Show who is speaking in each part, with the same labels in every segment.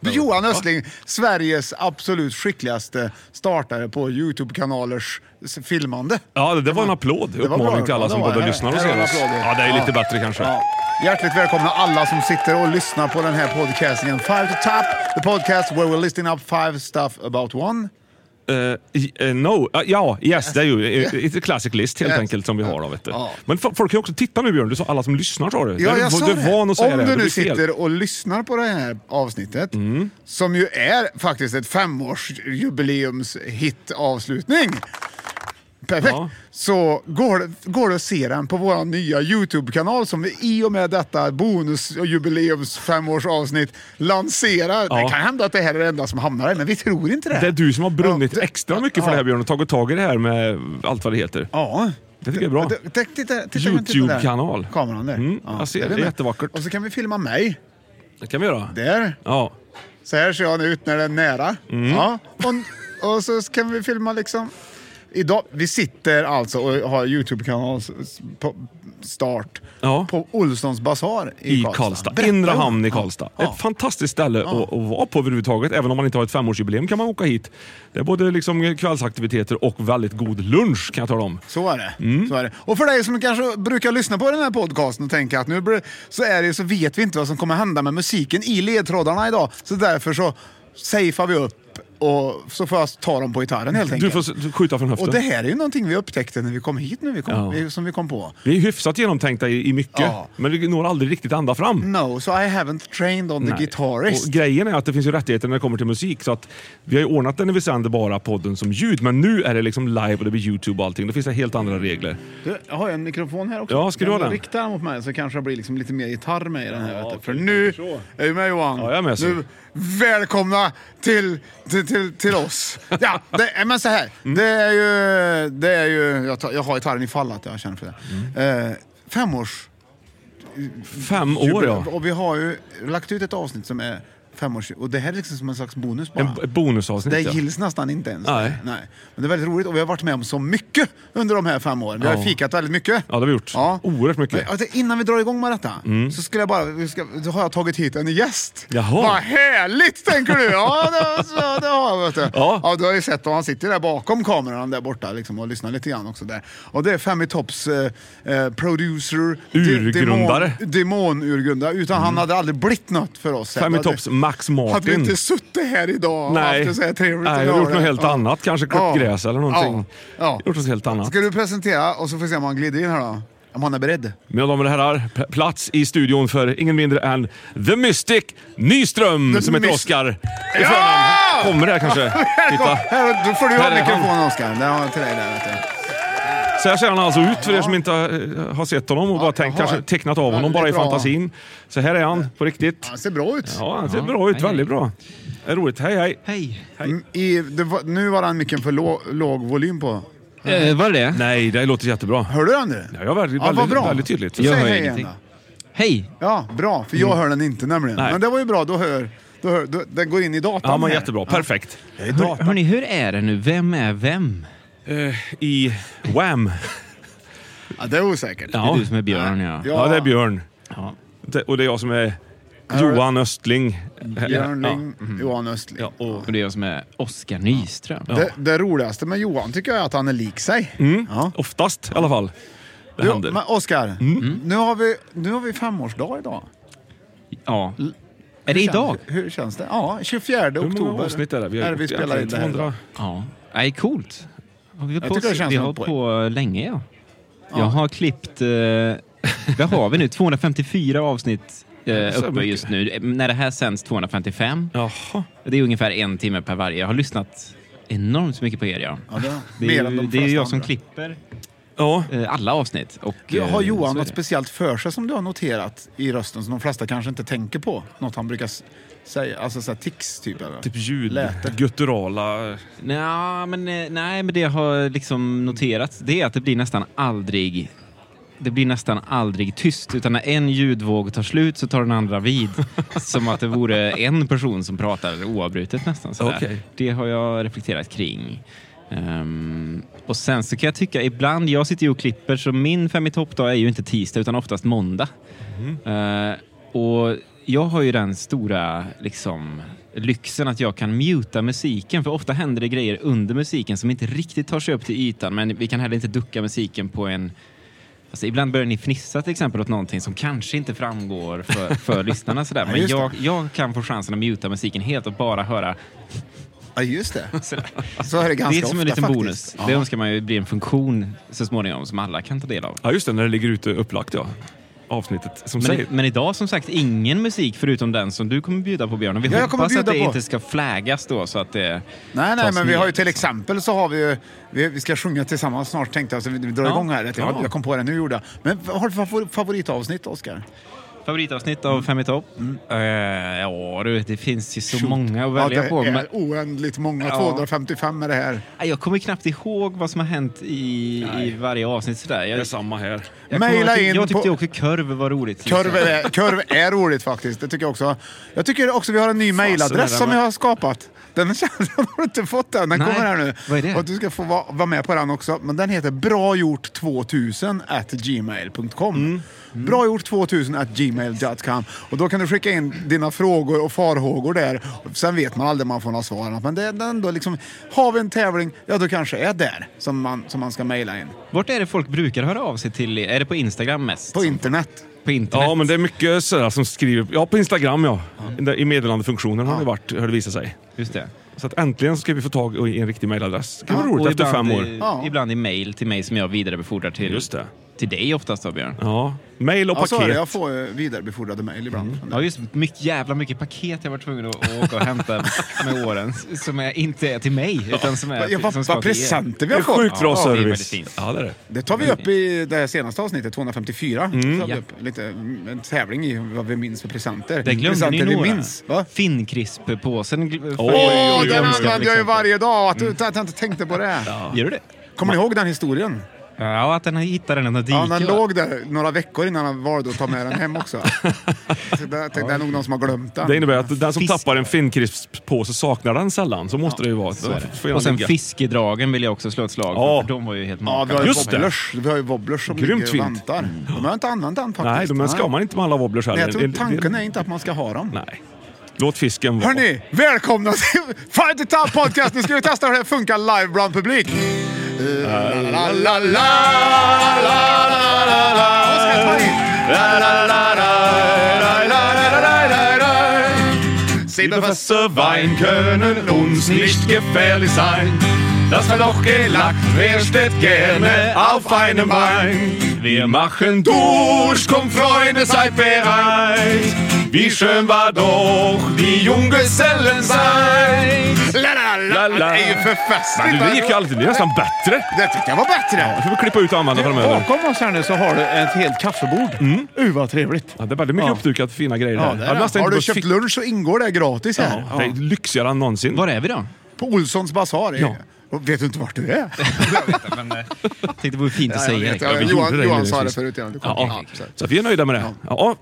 Speaker 1: Johan Östling, Sveriges absolut skickligaste startare på Youtube-kanalers s- filmande.
Speaker 2: Ja, det, det var en applåd.
Speaker 1: var
Speaker 2: Uppmaning
Speaker 1: bra.
Speaker 2: till alla
Speaker 1: Ja,
Speaker 2: som
Speaker 1: det var
Speaker 2: både
Speaker 1: det.
Speaker 2: lyssnar och
Speaker 1: Det var
Speaker 2: ser oss.
Speaker 1: applåder.
Speaker 2: Ja, det är lite
Speaker 1: Ja.
Speaker 2: bättre kanske.
Speaker 1: Ja. Hjärtligt välkomna alla som sitter och lyssnar på den här podcastingen. Five to Top, the podcast where we're listing up five stuff about one.
Speaker 2: Eh, i- eh, no, Ja, ja, yes, det är ju eh, it's a classic list helt
Speaker 1: Yes.
Speaker 2: enkelt som vi har. Då, vet du.
Speaker 1: Ja.
Speaker 2: Men fo- folk kan ju också titta nu Björn, du sa alla som lyssnar sa du.
Speaker 1: Ja,
Speaker 2: du,
Speaker 1: jag sa
Speaker 2: du
Speaker 1: det.
Speaker 2: Van att säga
Speaker 1: Om
Speaker 2: det.
Speaker 1: du
Speaker 2: Det
Speaker 1: nu
Speaker 2: blir fel.
Speaker 1: sitter och lyssnar på det här avsnittet, som ju är faktiskt ett femårsjubileumshit-avslutning. Perfekt.
Speaker 2: Ja.
Speaker 1: Så går, det- går det att se den på vår nya YouTube-kanal som vi i och med detta bonus och jubileums femårsavsnitt lanserar.
Speaker 2: Ja.
Speaker 1: Det kan hända att det här är det enda som hamnar där, men vi tror inte det.
Speaker 2: Det är du som har brunnit
Speaker 1: Ja, det-
Speaker 2: extra mycket för
Speaker 1: ja.
Speaker 2: det här Björn och tagit tag i det här med allt vad det heter.
Speaker 1: Ja.
Speaker 2: Det tycker jag är bra.
Speaker 1: Det- det- titta- titta- titta där.
Speaker 2: YouTube-kanal.
Speaker 1: Kameran där.
Speaker 2: Mm, jag ser det.
Speaker 1: är vi
Speaker 2: Det är
Speaker 1: med.
Speaker 2: jättevackert.
Speaker 1: Och så kan vi filma mig.
Speaker 2: Det kan vi göra.
Speaker 1: Där.
Speaker 2: Ja.
Speaker 1: Så här ser han ut när den är nära.
Speaker 2: Mm.
Speaker 1: Ja. Och, och så kan vi filma liksom. Idag, vi sitter alltså och har Youtube-kanal på start
Speaker 2: Ja.
Speaker 1: på Olssons basar i,
Speaker 2: I Karlstad.
Speaker 1: Berätta.
Speaker 2: Inre hamn i Karlstad.
Speaker 1: Ja.
Speaker 2: Ett fantastiskt ställe att, att vara på överhuvudtaget. Även om man inte har ett femårsjubileum kan man åka hit. Det är både liksom kvällsaktiviteter och väldigt god lunch kan jag tala om.
Speaker 1: Så är, det.
Speaker 2: Mm.
Speaker 1: så är det. Och för dig som kanske brukar lyssna på den här podcasten och tänka att nu blir- så, är det, så vet vi inte vad som kommer hända med musiken i ledtrådarna idag. Så därför så safear vi upp och så får jag ta dem på gitarren helt
Speaker 2: Du
Speaker 1: enkelt.
Speaker 2: får s- skjuta från höften.
Speaker 1: Och det här är ju någonting vi upptäckte när vi kom hit nu, vi kom,
Speaker 2: Ja.
Speaker 1: vi, som vi kom på.
Speaker 2: Vi är hyfsat genomtänkta i, i mycket,
Speaker 1: Ja. Mm.
Speaker 2: men vi når aldrig riktigt ända fram.
Speaker 1: No, so I haven't trained on the
Speaker 2: Nej.
Speaker 1: guitarist.
Speaker 2: Och grejen är att det finns ju rättigheter när det kommer till musik. Så att vi har ju ordnat den när vi sänder bara podden som ljud, men nu är det liksom live och det blir YouTube och allting. Då finns det helt andra regler.
Speaker 1: Du, jag har ju en mikrofon här också.
Speaker 2: Ja, ska du ha
Speaker 1: Kan
Speaker 2: den?
Speaker 1: Rikta den mot mig så kanske det blir liksom lite mer gitarr med i den här. vet du. För
Speaker 2: okej,
Speaker 1: nu,
Speaker 2: jag förstår.
Speaker 1: är du med Johan?
Speaker 2: Ja, jag är med, så.
Speaker 1: Nu, välkomna till, till, till, till oss. ja, det, är- men så här.
Speaker 2: Mm.
Speaker 1: Det är ju... Det är ju jag, tar, jag har gitarren i fallat, jag känner för det. Eh, femårs...
Speaker 2: Fem Mm. år ja.
Speaker 1: Och vi har ju lagt ut ett avsnitt som är femårs... Och det här är liksom som en slags bonus bara.
Speaker 2: En, ett bonusavsnitt.
Speaker 1: Det
Speaker 2: ja.
Speaker 1: gills nästan inte ens.
Speaker 2: Nej.
Speaker 1: Men det är väldigt roligt och vi har varit med om så mycket under de här fem åren. Vi har
Speaker 2: Ja.
Speaker 1: fikat väldigt mycket.
Speaker 2: Ja, det har vi gjort. Oerhört mycket. Mm.
Speaker 1: Men, alltså, innan vi drar igång med detta så skulle jag bara, vi ska, då har jag tagit hit en gäst.
Speaker 2: Jaha.
Speaker 1: Vad härligt tänker du! Ja, det, så, det har jag. Vet du.
Speaker 2: Ja.
Speaker 1: du har ju sett att han sitter där bakom kameran där borta liksom, och lyssnar lite grann också där. Och det är Fem i topps eh, eh, producer, de-
Speaker 2: Urgrundare.
Speaker 1: demon- demonurgrundare. Utan han hade aldrig blivit något för oss.
Speaker 2: Fem i topps Max
Speaker 1: Hade vi
Speaker 2: Martin.
Speaker 1: inte suttit här idag och
Speaker 2: Nej.
Speaker 1: haft det så här trevligt
Speaker 2: Nej,
Speaker 1: och
Speaker 2: jag har
Speaker 1: bra
Speaker 2: gjort något
Speaker 1: där.
Speaker 2: helt annat. Kanske klippt gräs eller någonting. Gjort något helt annat.
Speaker 1: Ska du presentera och så får vi se om han glider in här då. Om han är beredd.
Speaker 2: Mina damer och herrar, p- plats i studion för ingen mindre än The Mystic Nyström
Speaker 1: The
Speaker 2: som heter
Speaker 1: Myst-
Speaker 2: Oscar. i
Speaker 1: Ja!
Speaker 2: förnamn. Kommer det här kanske?
Speaker 1: Välkommen!
Speaker 2: Titta.
Speaker 1: Här, då får du ha
Speaker 2: Här är han.
Speaker 1: mikrofonen Oskar. Den har jag till dig där. Vet du.
Speaker 2: Så här ser han alltså ut för er som inte eh, har sett honom och bara tänkt,
Speaker 1: jaha.
Speaker 2: kanske tecknat av honom
Speaker 1: Väldigt
Speaker 2: bara i
Speaker 1: bra.
Speaker 2: fantasin. Så här är han på riktigt.
Speaker 1: Han ser bra ut.
Speaker 2: Ja, han ser bra ut. Väldigt bra. Det är roligt. Hej, hej.
Speaker 3: Hej!
Speaker 1: Mm, I, det var, nu var den micken för lå- låg volym på.
Speaker 3: Eh, var det det?
Speaker 2: Nej, det låter jättebra.
Speaker 1: Hör du den nu?
Speaker 2: Ja, jag var väldigt,
Speaker 1: Ja, vad
Speaker 2: väldigt,
Speaker 1: bra.
Speaker 2: väldigt tydligt.
Speaker 3: Jag
Speaker 1: Säg
Speaker 3: hör
Speaker 1: hej
Speaker 3: ingenting.
Speaker 1: igen då.
Speaker 3: Hej!
Speaker 1: Ja, bra. För jag hör den inte nämligen.
Speaker 2: Mm. Nej.
Speaker 1: Men det var ju bra. Då hör... Då hör då, den går in i datorn.
Speaker 2: Ja, men
Speaker 1: här.
Speaker 2: jättebra. Perfekt.
Speaker 3: Hör, hörni, hur är det nu? Vem är vem?
Speaker 2: Eh, I Wham.
Speaker 1: Ja, det är osäkert.
Speaker 3: Det är du som är Björn, ja.
Speaker 1: Ja.
Speaker 2: Ja, det är Björn.
Speaker 3: Ja.
Speaker 2: Det- Och det är jag som är Johan Östling.
Speaker 1: Björn Ling,
Speaker 2: Mm.
Speaker 1: Johan Östling.
Speaker 3: Ja, och och det är jag som är Oskar Nyström.
Speaker 1: Det, det roligaste med Johan tycker jag är att han är lik sig.
Speaker 3: Mm.
Speaker 1: Ja.
Speaker 2: Oftast i alla fall. Det
Speaker 1: Du,
Speaker 2: händer.
Speaker 1: men Oskar,
Speaker 3: Mm.
Speaker 1: nu, har vi, nu har vi femårsdag idag.
Speaker 3: Ja. Är det idag?
Speaker 1: Hur känns det? Ja, 24
Speaker 2: Hur
Speaker 1: oktober.
Speaker 2: många avsnitt är det?
Speaker 1: Vi,
Speaker 2: har
Speaker 1: vi
Speaker 2: gjort
Speaker 1: spelar in det här. idag.
Speaker 2: 200.
Speaker 3: Ja. Nej, coolt. Har vi
Speaker 1: Jag
Speaker 3: på,
Speaker 1: tycker det känns
Speaker 3: vi
Speaker 1: som
Speaker 3: har
Speaker 1: en
Speaker 3: hållit på länge, ja. Jag har klippt... Eh, vad har vi nu? 254 avsnitt eh,
Speaker 2: Så
Speaker 3: uppe
Speaker 2: mycket.
Speaker 3: just nu. Eh, När det här sänds 255.
Speaker 2: Jaha.
Speaker 3: Det är ungefär en timme per varje. Jag har lyssnat enormt mycket på er, ja.
Speaker 1: Ja, det,
Speaker 3: Det
Speaker 1: mer
Speaker 3: är,
Speaker 1: än
Speaker 3: ju,
Speaker 1: de
Speaker 3: det är ju
Speaker 1: flesta
Speaker 3: jag som
Speaker 1: andra.
Speaker 3: klipper
Speaker 2: Ja.
Speaker 3: eh, alla avsnitt. Och,
Speaker 1: Du,
Speaker 3: eh,
Speaker 1: har Johan
Speaker 3: så är
Speaker 1: något
Speaker 3: det.
Speaker 1: speciellt för sig som du har noterat i rösten som de flesta kanske inte tänker på? Något han brukar s- säga, alltså så här tics typ? Eller?
Speaker 2: Typ ljud,
Speaker 1: Läte.
Speaker 2: gutturala...
Speaker 3: Nja, men, eh, nej, men det jag har liksom noterat det är att det blir nästan aldrig det blir nästan aldrig tyst, utan när en ljudvåg tar slut så tar den andra vid. som att det vore en person som pratar oavbrutet nästan. Sådär.
Speaker 2: Okej.
Speaker 3: Det har jag reflekterat kring. Ehm, och sen så kan jag tycka ibland, jag sitter ju och klipper, så min Fem i topp-dag är ju inte tisdag utan oftast måndag. Eh, och jag har ju den stora liksom, lyxen att jag kan muta musiken. För ofta händer det grejer under musiken som inte riktigt tar sig upp till ytan. Men vi kan heller inte ducka musiken på en... Alltså, ibland börjar ni fnissa till exempel åt någonting som kanske inte framgår för, för lyssnarna. Sådär.
Speaker 1: Ja,
Speaker 3: Men
Speaker 1: just det.
Speaker 3: jag, jag kan få chansen att muta musiken helt och bara höra.
Speaker 1: Ja, just det. Så är det ganska
Speaker 3: det är som en
Speaker 1: ofta
Speaker 3: liten
Speaker 1: faktiskt.
Speaker 3: bonus.
Speaker 1: Ja.
Speaker 3: Det önskar man ju blir en funktion så småningom som alla kan ta del av.
Speaker 2: Ja, just det. När det ligger ute upplagt, ja. Avsnittet som
Speaker 3: Men,
Speaker 2: säger.
Speaker 3: men idag som sagt ingen musik förutom den som du kommer bjuda på Björn. Och vi
Speaker 1: Ja, jag kommer
Speaker 3: hoppas att
Speaker 1: bjuda
Speaker 3: det
Speaker 1: på.
Speaker 3: inte ska flaggas då så att det
Speaker 1: Nej, nej,
Speaker 3: tas
Speaker 1: men vi
Speaker 3: ner,
Speaker 1: har ju till
Speaker 3: liksom.
Speaker 1: exempel så har vi ju, vi, vi ska sjunga tillsammans snart tänkte jag, så vi, vi drar
Speaker 3: Ja.
Speaker 1: igång här. Jag,
Speaker 3: Ja.
Speaker 1: jag kom på det nu gjorde jag. Men vad har du för favor- favoritavsnitt, Oskar?
Speaker 3: Favoritavsnitt av Fem i topp? Eh, ja du, det finns ju så många att välja
Speaker 1: Mm. ja, det
Speaker 3: på.
Speaker 1: är
Speaker 3: Men
Speaker 1: oändligt många,
Speaker 3: Ja.
Speaker 1: 255 är det här.
Speaker 3: Nej, jag kommer knappt ihåg vad som har hänt i, i varje avsnitt. Sådär. Jag,
Speaker 2: Det är samma här.
Speaker 3: jag, kommer
Speaker 1: Maila
Speaker 3: ihåg att-
Speaker 1: in
Speaker 3: jag tyckte
Speaker 1: på-
Speaker 3: också kurv var roligt.
Speaker 1: Kurv
Speaker 3: liksom.
Speaker 1: är, kurv är roligt faktiskt, det tycker jag också. Jag tycker också vi har en ny mailadress
Speaker 2: den
Speaker 1: som
Speaker 2: var-
Speaker 1: jag har skapat. Den känslan har du inte fått än, den
Speaker 3: Nej,
Speaker 1: kommer här nu.
Speaker 3: vad är det?
Speaker 1: Och du ska få vara, vara med på den också. Men den heter bragjort2000 at gmail.com.
Speaker 3: Mm.
Speaker 1: Bragjort2000 at gmail.com. Och då kan du skicka in dina frågor och farhågor där. Sen vet man aldrig om man får några svar. Men det är ändå liksom, har vi en tävling, ja då kanske är där som man, som man ska mejla in.
Speaker 3: Vart är det folk brukar höra av sig till? Är det på Instagram mest?
Speaker 1: På internet.
Speaker 3: På internet?
Speaker 2: Ja, men det är mycket sådär som skriver... Ja, på Instagram ja. Där- I meddelandefunktionen har det varit, har det visat sig.
Speaker 3: Just det.
Speaker 2: Så att äntligen så ska vi få tag i en riktig mejladress. Det kan vara
Speaker 3: Och
Speaker 2: roligt efter
Speaker 3: ibland
Speaker 2: fem
Speaker 3: I,
Speaker 2: år.
Speaker 1: Ja.
Speaker 3: Ibland i mail till mig som jag vidarebefordrar till,
Speaker 2: Just det.
Speaker 3: till dig oftast då Björn.
Speaker 2: Ja. Mejl och
Speaker 1: Ja, så är det. Jag
Speaker 2: paket.
Speaker 1: får eh, vidarebefordrade mejl ibland.
Speaker 3: Mm. Ja, just mycket, jävla mycket paket jag var tvungen att att åka och hämta med åren. Som är, inte är till mig, utan som är
Speaker 1: Ja,
Speaker 3: till,
Speaker 1: vad,
Speaker 3: som
Speaker 1: vad
Speaker 3: till er.
Speaker 1: presenter vi
Speaker 2: Det
Speaker 1: har
Speaker 2: är
Speaker 1: fått!
Speaker 2: sjukt Mm. bra
Speaker 3: Ja, det är väldigt
Speaker 2: service.
Speaker 3: fint.
Speaker 2: Ja, det är det.
Speaker 1: Det tar vi upp i det här senaste avsnittet, 254. Mm.
Speaker 3: Ja.
Speaker 1: Upp lite, mm, en tävling i vad vi minns för presenter.
Speaker 3: Där glömde ni
Speaker 1: presenter vi
Speaker 3: några.
Speaker 1: minns. Va?
Speaker 3: Finnkrisp-påsen. gl- får
Speaker 2: Oj,
Speaker 3: ju
Speaker 1: Åh,
Speaker 2: oj,
Speaker 1: den
Speaker 3: glömska
Speaker 1: använder
Speaker 3: till
Speaker 1: jag ju
Speaker 3: exempel.
Speaker 1: varje dag! Att,
Speaker 2: Mm.
Speaker 1: att jag inte tänkte på det.
Speaker 3: Gör du det?
Speaker 1: Kommer ni ihåg den historien?
Speaker 3: Ja, att den har hittat den under
Speaker 1: Ja,
Speaker 3: diket.
Speaker 1: den
Speaker 3: va?
Speaker 1: låg där några veckor innan han valde att ta med den hem också. Så där, tänkte, det är nog någon som har glömt den.
Speaker 2: Det innebär att den som
Speaker 3: Fisk.
Speaker 2: tappar en Finnkrisps-påse saknar den sällan. Så måste det ju vara.
Speaker 3: Så är
Speaker 2: Då får
Speaker 3: det.
Speaker 2: jag
Speaker 3: Och sen
Speaker 2: ligga.
Speaker 3: fiskedragen vill jag också slå ett slag för,
Speaker 2: Ja.
Speaker 3: för. De var ju helt
Speaker 1: ja, vi har ju
Speaker 2: Just det.
Speaker 1: wobblers. Vi har ju wobblers som
Speaker 2: Grymt
Speaker 1: ligger och
Speaker 2: fint. Mm.
Speaker 1: väntar. De har jag inte använt än
Speaker 2: Nej,
Speaker 1: faktiskt.
Speaker 2: men ska man inte med alla wobblers
Speaker 1: Nej,
Speaker 2: heller.
Speaker 1: jag tror
Speaker 2: Det-
Speaker 1: tanken
Speaker 2: det-
Speaker 1: är inte att man ska ha dem.
Speaker 2: Nej. Låt fisken vara.
Speaker 1: Hörni, välkomna till Fight It Out Podcast. Nu ska vi testa hur det funkar live bland publik. La, la, la, Oskar, ta i.
Speaker 2: Liebe Fässer Wein können uns nicht gefährlich sein. Das Verlochgelack, wer steht gerne auf einem Wein? Wir machen durch, kommt Freunde, seid bereit. Wie schön war doch die Junggesellenzeit.
Speaker 1: La, la, la,
Speaker 2: La, la.
Speaker 1: Det är ju för festligt.
Speaker 2: Men det gick ju alltid, det är nästan bättre.
Speaker 1: Det tyckte jag var
Speaker 2: Jag
Speaker 1: bättre.
Speaker 2: får vi klippa ut och använda framöver.
Speaker 1: Bakom oss här nu så har du ett helt kaffebord. Mm. Uh, vad trevligt.
Speaker 2: Ja, det är väldigt mycket
Speaker 1: Ja.
Speaker 2: uppdukat fina grejer
Speaker 1: Ja,
Speaker 2: här.
Speaker 1: det
Speaker 2: Jag
Speaker 1: är
Speaker 2: hade
Speaker 1: det.
Speaker 2: nästan
Speaker 1: Har
Speaker 2: inte
Speaker 1: du
Speaker 2: behövt
Speaker 1: köpt
Speaker 2: fick-
Speaker 1: lunch så ingår det gratis här.
Speaker 2: Ja, Det är lyxigare än någonsin.
Speaker 3: Var är vi då?
Speaker 1: På Olssons basar. i-
Speaker 2: Ja.
Speaker 1: Och vet du inte vart du är?
Speaker 4: Men, eh,
Speaker 3: Tänkte det vore fint att
Speaker 1: Ja,
Speaker 3: säga.
Speaker 1: jag vet,
Speaker 3: direkt.
Speaker 1: ja,
Speaker 4: vi gjorde
Speaker 1: Johan,
Speaker 4: det
Speaker 1: Johan
Speaker 4: inledningsvis.
Speaker 1: sa det förut. Ja, du kom.
Speaker 4: Ja.
Speaker 1: Ja, så här.
Speaker 2: Så att vi är nöjda med det. Ja,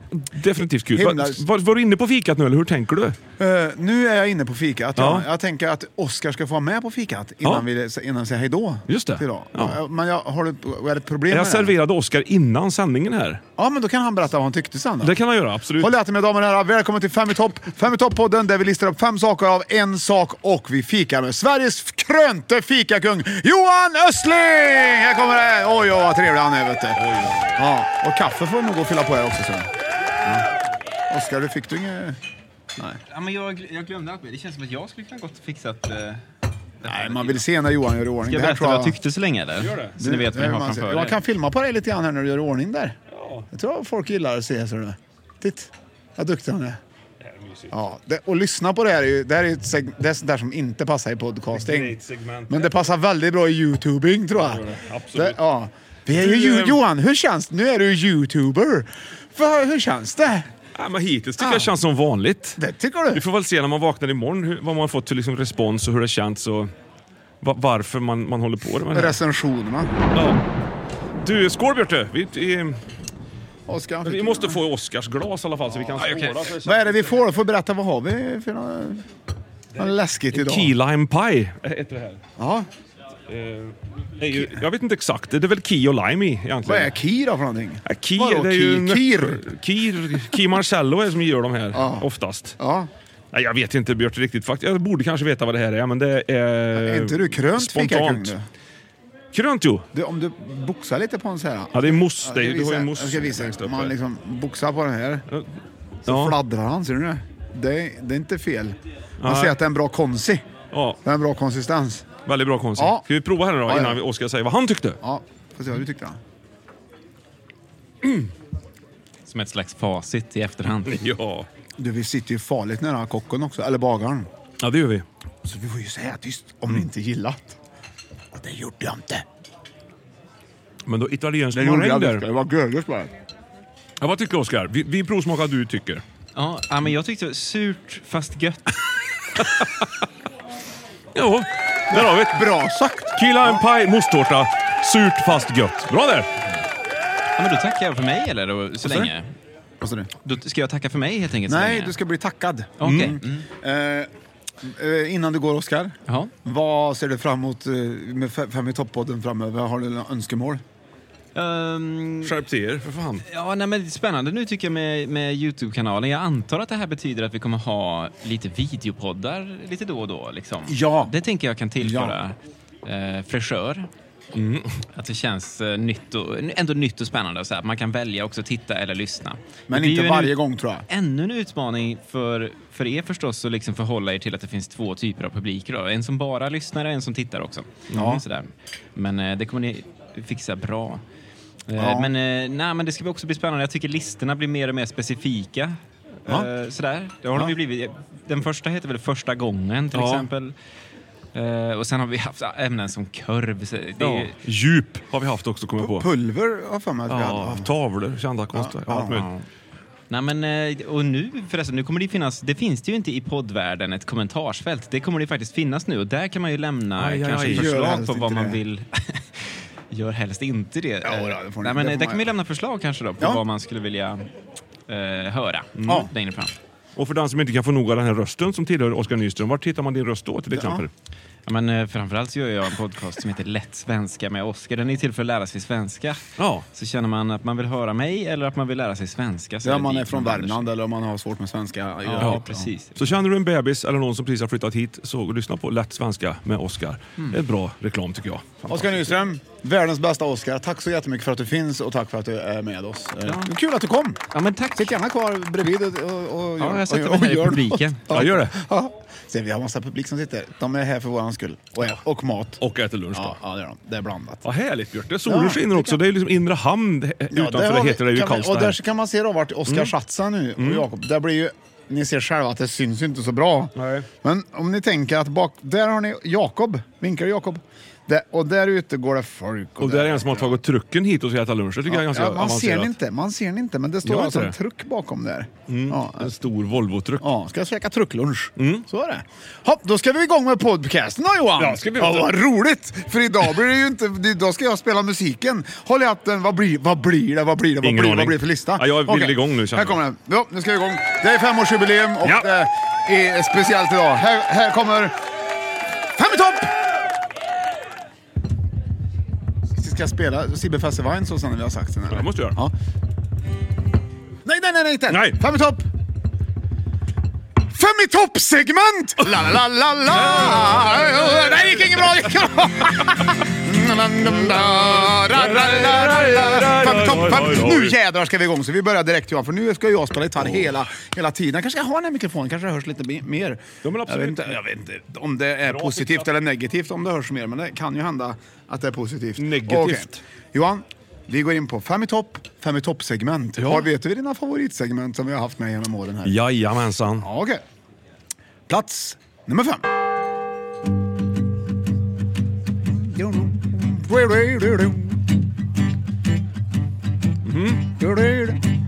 Speaker 2: definitivt kul. Va-
Speaker 1: Himla-
Speaker 2: Var, var du inne på fikat nu eller hur tänker du?
Speaker 1: Eh, nu är jag inne på fikat. Ja.
Speaker 2: Ja.
Speaker 1: Jag tänker att Oskar ska få vara med på fikat innan,
Speaker 2: Ja.
Speaker 1: vi, innan vi säger hej då.
Speaker 2: Just det.
Speaker 1: till idag.
Speaker 2: Ja.
Speaker 1: Ja, Men jag har du- är det ett problem
Speaker 2: Jag
Speaker 1: med det?
Speaker 2: serverade Oscar innan sändningen här.
Speaker 1: Ja, men då kan han berätta vad han tyckte sen. Då.
Speaker 2: Det kan han göra, absolut.
Speaker 1: Håll i hatten mina damer och herrar. Välkommen till Fem i topp. Fem i topp-podden där vi listar upp fem saker av en sak och vi fikar med Sveriges krönte fikakung Johan Östling! Här kommer det! Oj, oj, vad trevlig han är vet du. Ja, och kaffe får nog gå och fylla på här också sen. Ja. Oskar, du fick du inget...
Speaker 3: Ja, men jag, gl- jag glömde allt. Det känns som att jag skulle kunna gått och fixat... Eh,
Speaker 1: Nej, man vill se när Johan gör i ordning.
Speaker 3: Ska
Speaker 1: Det
Speaker 3: jag
Speaker 1: här
Speaker 3: berätta
Speaker 1: tror
Speaker 3: vad jag tyckte så länge eller?
Speaker 2: Gör det.
Speaker 3: Så ni vet vad
Speaker 1: Det
Speaker 3: ni
Speaker 1: är
Speaker 3: har
Speaker 1: man ser.
Speaker 3: framför
Speaker 1: Jag
Speaker 3: er.
Speaker 1: kan filma på dig lite grann här när du gör i ordning där.
Speaker 2: Ja.
Speaker 1: Jag tror att folk gillar att se. Ser du. Titt, vad duktig han är. Ja, det, och lyssna på det här. är ju- Det här är ju ett seg- det är sånt där som inte passar i
Speaker 2: Det är
Speaker 1: podcasting.
Speaker 2: ett segment.
Speaker 1: Men det passar väldigt bra i YouTubing tror jag.
Speaker 2: Ja, det är det. Absolut.
Speaker 1: Det, ja. Vi är ju,
Speaker 2: Du,
Speaker 1: ju-
Speaker 2: ehm,
Speaker 1: Johan, hur känns det? Nu är du YouTuber. För, hur känns det?
Speaker 2: Ja, men hittills tycker
Speaker 1: Ja.
Speaker 2: jag känns som vanligt.
Speaker 1: Det tycker du?
Speaker 2: Vi får väl se när man vaknar imorgon hur, vad man fått för liksom respons och hur det känns och va, varför man, man håller på med det. här.
Speaker 1: Recensionerna.
Speaker 2: Ja. Du, skål Björte! Vi, vi,
Speaker 1: Oskar, han
Speaker 2: vi
Speaker 1: fick-
Speaker 2: måste få Oscars glas i alla fall så vi kan skåla. för-
Speaker 1: Vad är det vi får? Får berätta vad har vi för något, något läskigt idag?
Speaker 2: Key lime pie heter det här.
Speaker 1: Ja.
Speaker 2: Det är ju, jag vet inte exakt, det är väl key och lime i egentligen.
Speaker 1: Vad är Ki då för någonting?
Speaker 2: Ja, Key,
Speaker 1: Vadå
Speaker 2: det är ju en-
Speaker 1: Kir?
Speaker 2: Kir, Key Marcello är som gör de här
Speaker 1: Ja.
Speaker 2: oftast.
Speaker 1: Ja.
Speaker 2: Nej, jag vet inte Björte riktigt faktiskt. Jag borde kanske veta vad det här är, men det är...
Speaker 1: Är inte du krönt fikakung?
Speaker 2: Spontant.
Speaker 1: du?
Speaker 2: Krönt jo.
Speaker 1: Du, Om du boxar lite på en så här.
Speaker 2: Ja, det är mousse.
Speaker 1: Jag
Speaker 2: Det
Speaker 1: ska
Speaker 2: är, du har ju
Speaker 1: visa-
Speaker 2: mousse
Speaker 1: Jag ska
Speaker 2: längst
Speaker 1: visa.
Speaker 2: upp
Speaker 1: Om man
Speaker 2: här.
Speaker 1: liksom boxar på den här så
Speaker 2: Ja.
Speaker 1: fladdrar han, ser du det? Det är, det är inte fel. Man
Speaker 2: Nej.
Speaker 1: ser att det är en bra konsi.
Speaker 2: Ja,
Speaker 1: Det är en bra konsistens.
Speaker 2: väldigt bra konst.
Speaker 1: Ja.
Speaker 2: Ska vi prova här nu då
Speaker 1: Ja, ja.
Speaker 2: innan vi Oskar säger vad han tyckte?
Speaker 1: Ja, får se vad du tyckte.
Speaker 3: Som ett slags facit i efterhand.
Speaker 2: Ja.
Speaker 1: Du, vi sitter ju farligt nära kocken också, eller bagaren.
Speaker 2: Ja, det gör vi.
Speaker 1: Så vi får ju säga tyst om ni inte gillat. Och det gjorde jag inte.
Speaker 2: Men då italiensk
Speaker 1: Det gjorde
Speaker 2: maräng
Speaker 1: jag
Speaker 2: där.
Speaker 1: inte. Det var görgött bara.
Speaker 2: Ja, vad tycker Oskar? Vi, vi provsmakar vad du tycker.
Speaker 3: Ja, ja, men jag tyckte det var surt fast gött.
Speaker 2: Ja, där har vi det.
Speaker 1: Bra sagt!
Speaker 2: Killa en paj, mosttårta, surt fast gött. Bra där!
Speaker 3: Ja, men då tackar jag för mig eller? Då, så
Speaker 1: sa du?
Speaker 3: länge.
Speaker 1: Vad sa du?
Speaker 3: Då ska jag tacka för mig helt enkelt? så
Speaker 1: Nej,
Speaker 3: länge.
Speaker 1: du ska bli tackad.
Speaker 3: Okej. Mm.
Speaker 1: Eh, eh, innan du går, Oskar.
Speaker 3: Jaha.
Speaker 1: Vad ser du fram emot eh, med Fe- Fem i topp-podden framöver? Har du några önskemål?
Speaker 3: Ehm,
Speaker 2: Skärp till er, för fan.
Speaker 3: ja, nej, men det är spännande nu tycker jag med, med Youtube-kanalen. Jag antar att det här betyder att vi kommer ha lite videopoddar lite då och då. Liksom.
Speaker 1: Ja.
Speaker 3: Det tänker jag kan tillföra eh, fräschör.
Speaker 1: Mm.
Speaker 3: Att det känns eh, nytt och, ändå nytt och spännande. Så här. Man kan välja också att titta eller lyssna.
Speaker 1: Men
Speaker 3: Det är ju
Speaker 1: inte
Speaker 3: en
Speaker 1: varje gång, tror jag.
Speaker 3: ännu en utmaning för, för er förstås att liksom förhålla er till att det finns två typer av publiker. Då. En som bara lyssnar och en som tittar också. Mm. Sådär. Men eh, det kommer ni fixa bra. Eh,
Speaker 1: Ja.
Speaker 3: Men, eh, nej, men det ska bli också bli spännande. Jag tycker listorna blir mer och mer specifika.
Speaker 1: Ja.
Speaker 3: Eh, sådär. Det har
Speaker 1: Ja.
Speaker 3: de ju blivit. Den första heter väl Första gången till
Speaker 2: Ja.
Speaker 3: exempel. Eh, och sen har vi haft ämnen som kurv. Så det är,
Speaker 2: Ja.
Speaker 3: ju-
Speaker 2: Djup har vi haft också, kommer jag på.
Speaker 1: Pulver har jag för mig att vi
Speaker 2: Ja,
Speaker 1: hade.
Speaker 2: tavlor, kända konstverk.
Speaker 1: Ja,
Speaker 2: Allt
Speaker 1: ja.
Speaker 2: möjligt.
Speaker 3: Nej, men, eh, och nu förresten, nu kommer det finnas, det finns det ju inte i poddvärlden, ett kommentarsfält. Det kommer det faktiskt finnas nu och där kan man ju lämna
Speaker 2: Aj, aj,
Speaker 3: kanske
Speaker 2: aj.
Speaker 1: Gör
Speaker 3: förslag
Speaker 1: helst
Speaker 3: på vad
Speaker 1: inte
Speaker 3: man
Speaker 1: det.
Speaker 3: vill. Gör helst inte det.
Speaker 1: Ja, då, det får ni- det
Speaker 3: Nej, men,
Speaker 1: får man
Speaker 3: eh, där kan vi
Speaker 1: göra.
Speaker 3: lämna förslag kanske då på
Speaker 1: Ja.
Speaker 3: vad man skulle vilja eh, höra
Speaker 1: Ja.
Speaker 3: längre fram.
Speaker 2: Och för den som inte kan få nog av den här rösten som tillhör Oskar Nyström, vart hittar man din röst då till exempel?
Speaker 3: Ja, men, eh, framförallt så gör jag en podcast som heter Lätt svenska med Oskar. Den är till för att lära sig svenska.
Speaker 2: Ja.
Speaker 3: Så känner man att man vill höra mig eller att man vill lära sig svenska. Så
Speaker 1: Det är
Speaker 3: det
Speaker 1: om man
Speaker 3: dit
Speaker 1: är från
Speaker 3: vänder sig.
Speaker 1: Värmland eller om man har svårt med svenska. i övrigt.
Speaker 3: Ja, precis.
Speaker 2: Så känner du en bebis eller någon som precis har flyttat hit, så lyssna på Lätt svenska med Oskar.
Speaker 1: Mm.
Speaker 2: Det är bra reklam tycker jag.
Speaker 1: Oskar Nyström, världens bästa Oskar. Tack så jättemycket för att du finns och tack för att du är med oss. Eh,
Speaker 3: Ja.
Speaker 1: Kul att du kom!
Speaker 3: Ja, men tack.
Speaker 1: Sitt gärna kvar bredvid och, och, och
Speaker 3: Ja, jag sätter
Speaker 1: och-
Speaker 3: mig
Speaker 1: och
Speaker 3: här i
Speaker 1: gör något.
Speaker 3: publiken.
Speaker 2: Ja, gör det.
Speaker 1: Ja. Ser vi har massa publik som sitter. De är här för våran skull. Och, och mat.
Speaker 2: Och äter lunch då.
Speaker 1: Ja, ja, det är de. Det är blandat.
Speaker 2: Vad härligt Björte. Solen
Speaker 1: Ja,
Speaker 2: skiner också. Det är liksom inre hamn eh, utanför
Speaker 1: där
Speaker 2: det
Speaker 1: har vi-
Speaker 2: heter det ju
Speaker 1: kan vi-
Speaker 2: Karlstad.
Speaker 1: Och där
Speaker 2: här.
Speaker 1: så kan man se då vart Oskar
Speaker 2: Mm.
Speaker 1: satsar nu och Jakob. Där blir ju, ni ser själva att det syns ju inte så bra.
Speaker 2: Nej.
Speaker 1: Men om ni tänker att bak, där har ni Jakob. Vinkar du Jakob? Där- och där ute går det folk.
Speaker 2: Och där är en som har tagit trucken hit och ska äta lunch. Det tycker jag är ganska
Speaker 1: ja, man ser den
Speaker 2: avancerat.
Speaker 1: inte, man ser den inte, men det
Speaker 2: Gör
Speaker 1: står
Speaker 2: inte
Speaker 1: alltså
Speaker 2: det? Mm.
Speaker 1: en truck bakom där. Ja,
Speaker 2: En stor Volvo-truck.
Speaker 1: Ja, ska jag käka trucklunch. Så är det. Hopp, då ska vi igång med podcasten då Johan!
Speaker 2: Mm. Ja, ska vi
Speaker 1: ja,
Speaker 2: ut.
Speaker 1: vad roligt! För idag blir det ju inte... Idag ska jag spela musiken. Håll i hatten, vad blir, vad blir det? Vad blir det? Vad
Speaker 2: Ingen
Speaker 1: blir, vad
Speaker 2: aning.
Speaker 1: blir det för lista?
Speaker 2: Ja, jag vill
Speaker 1: Okej.
Speaker 2: igång nu, känner
Speaker 1: Här
Speaker 2: jag.
Speaker 1: kommer den. Ja, nu ska vi igång. Det är femårsjubileum och
Speaker 2: Ja.
Speaker 1: det är speciellt idag. Här, här kommer... Fem i topp! Ska jag spela Sibbe Fessewein så sen när vi har sagt den? eller?
Speaker 2: Det måste jag göra.
Speaker 1: Ja. Nej, nej, nej, nej, inte.
Speaker 2: Nej.
Speaker 1: Fem i topp! Fem i topp-segment! La, la, la, la, la. Nej, det gick inget bra. Det gick inget bra. Ra, ra, la, ra, la. Fem i topp, fem i topp. Nu jädrar ska vi igång. Så vi börjar direkt Johan, för nu ska jag spela gitarr hela, hela tiden. Jag kanske ska ha den här mikrofonen, kanske det hörs lite be- mer.
Speaker 2: Ja, men absolut.
Speaker 1: Jag, vet inte, jag vet inte om det är positivt eller negativt om det hörs mer, men det kan ju hända att det är positivt.
Speaker 2: Negativt.
Speaker 1: Okej. Johan, vi går in på fem i topp, fem i topp-segment. Var vet du dina favoritsegment som vi har haft med genom åren här?
Speaker 2: Jajamensan.
Speaker 1: Ja, okej. Plats nummer fem.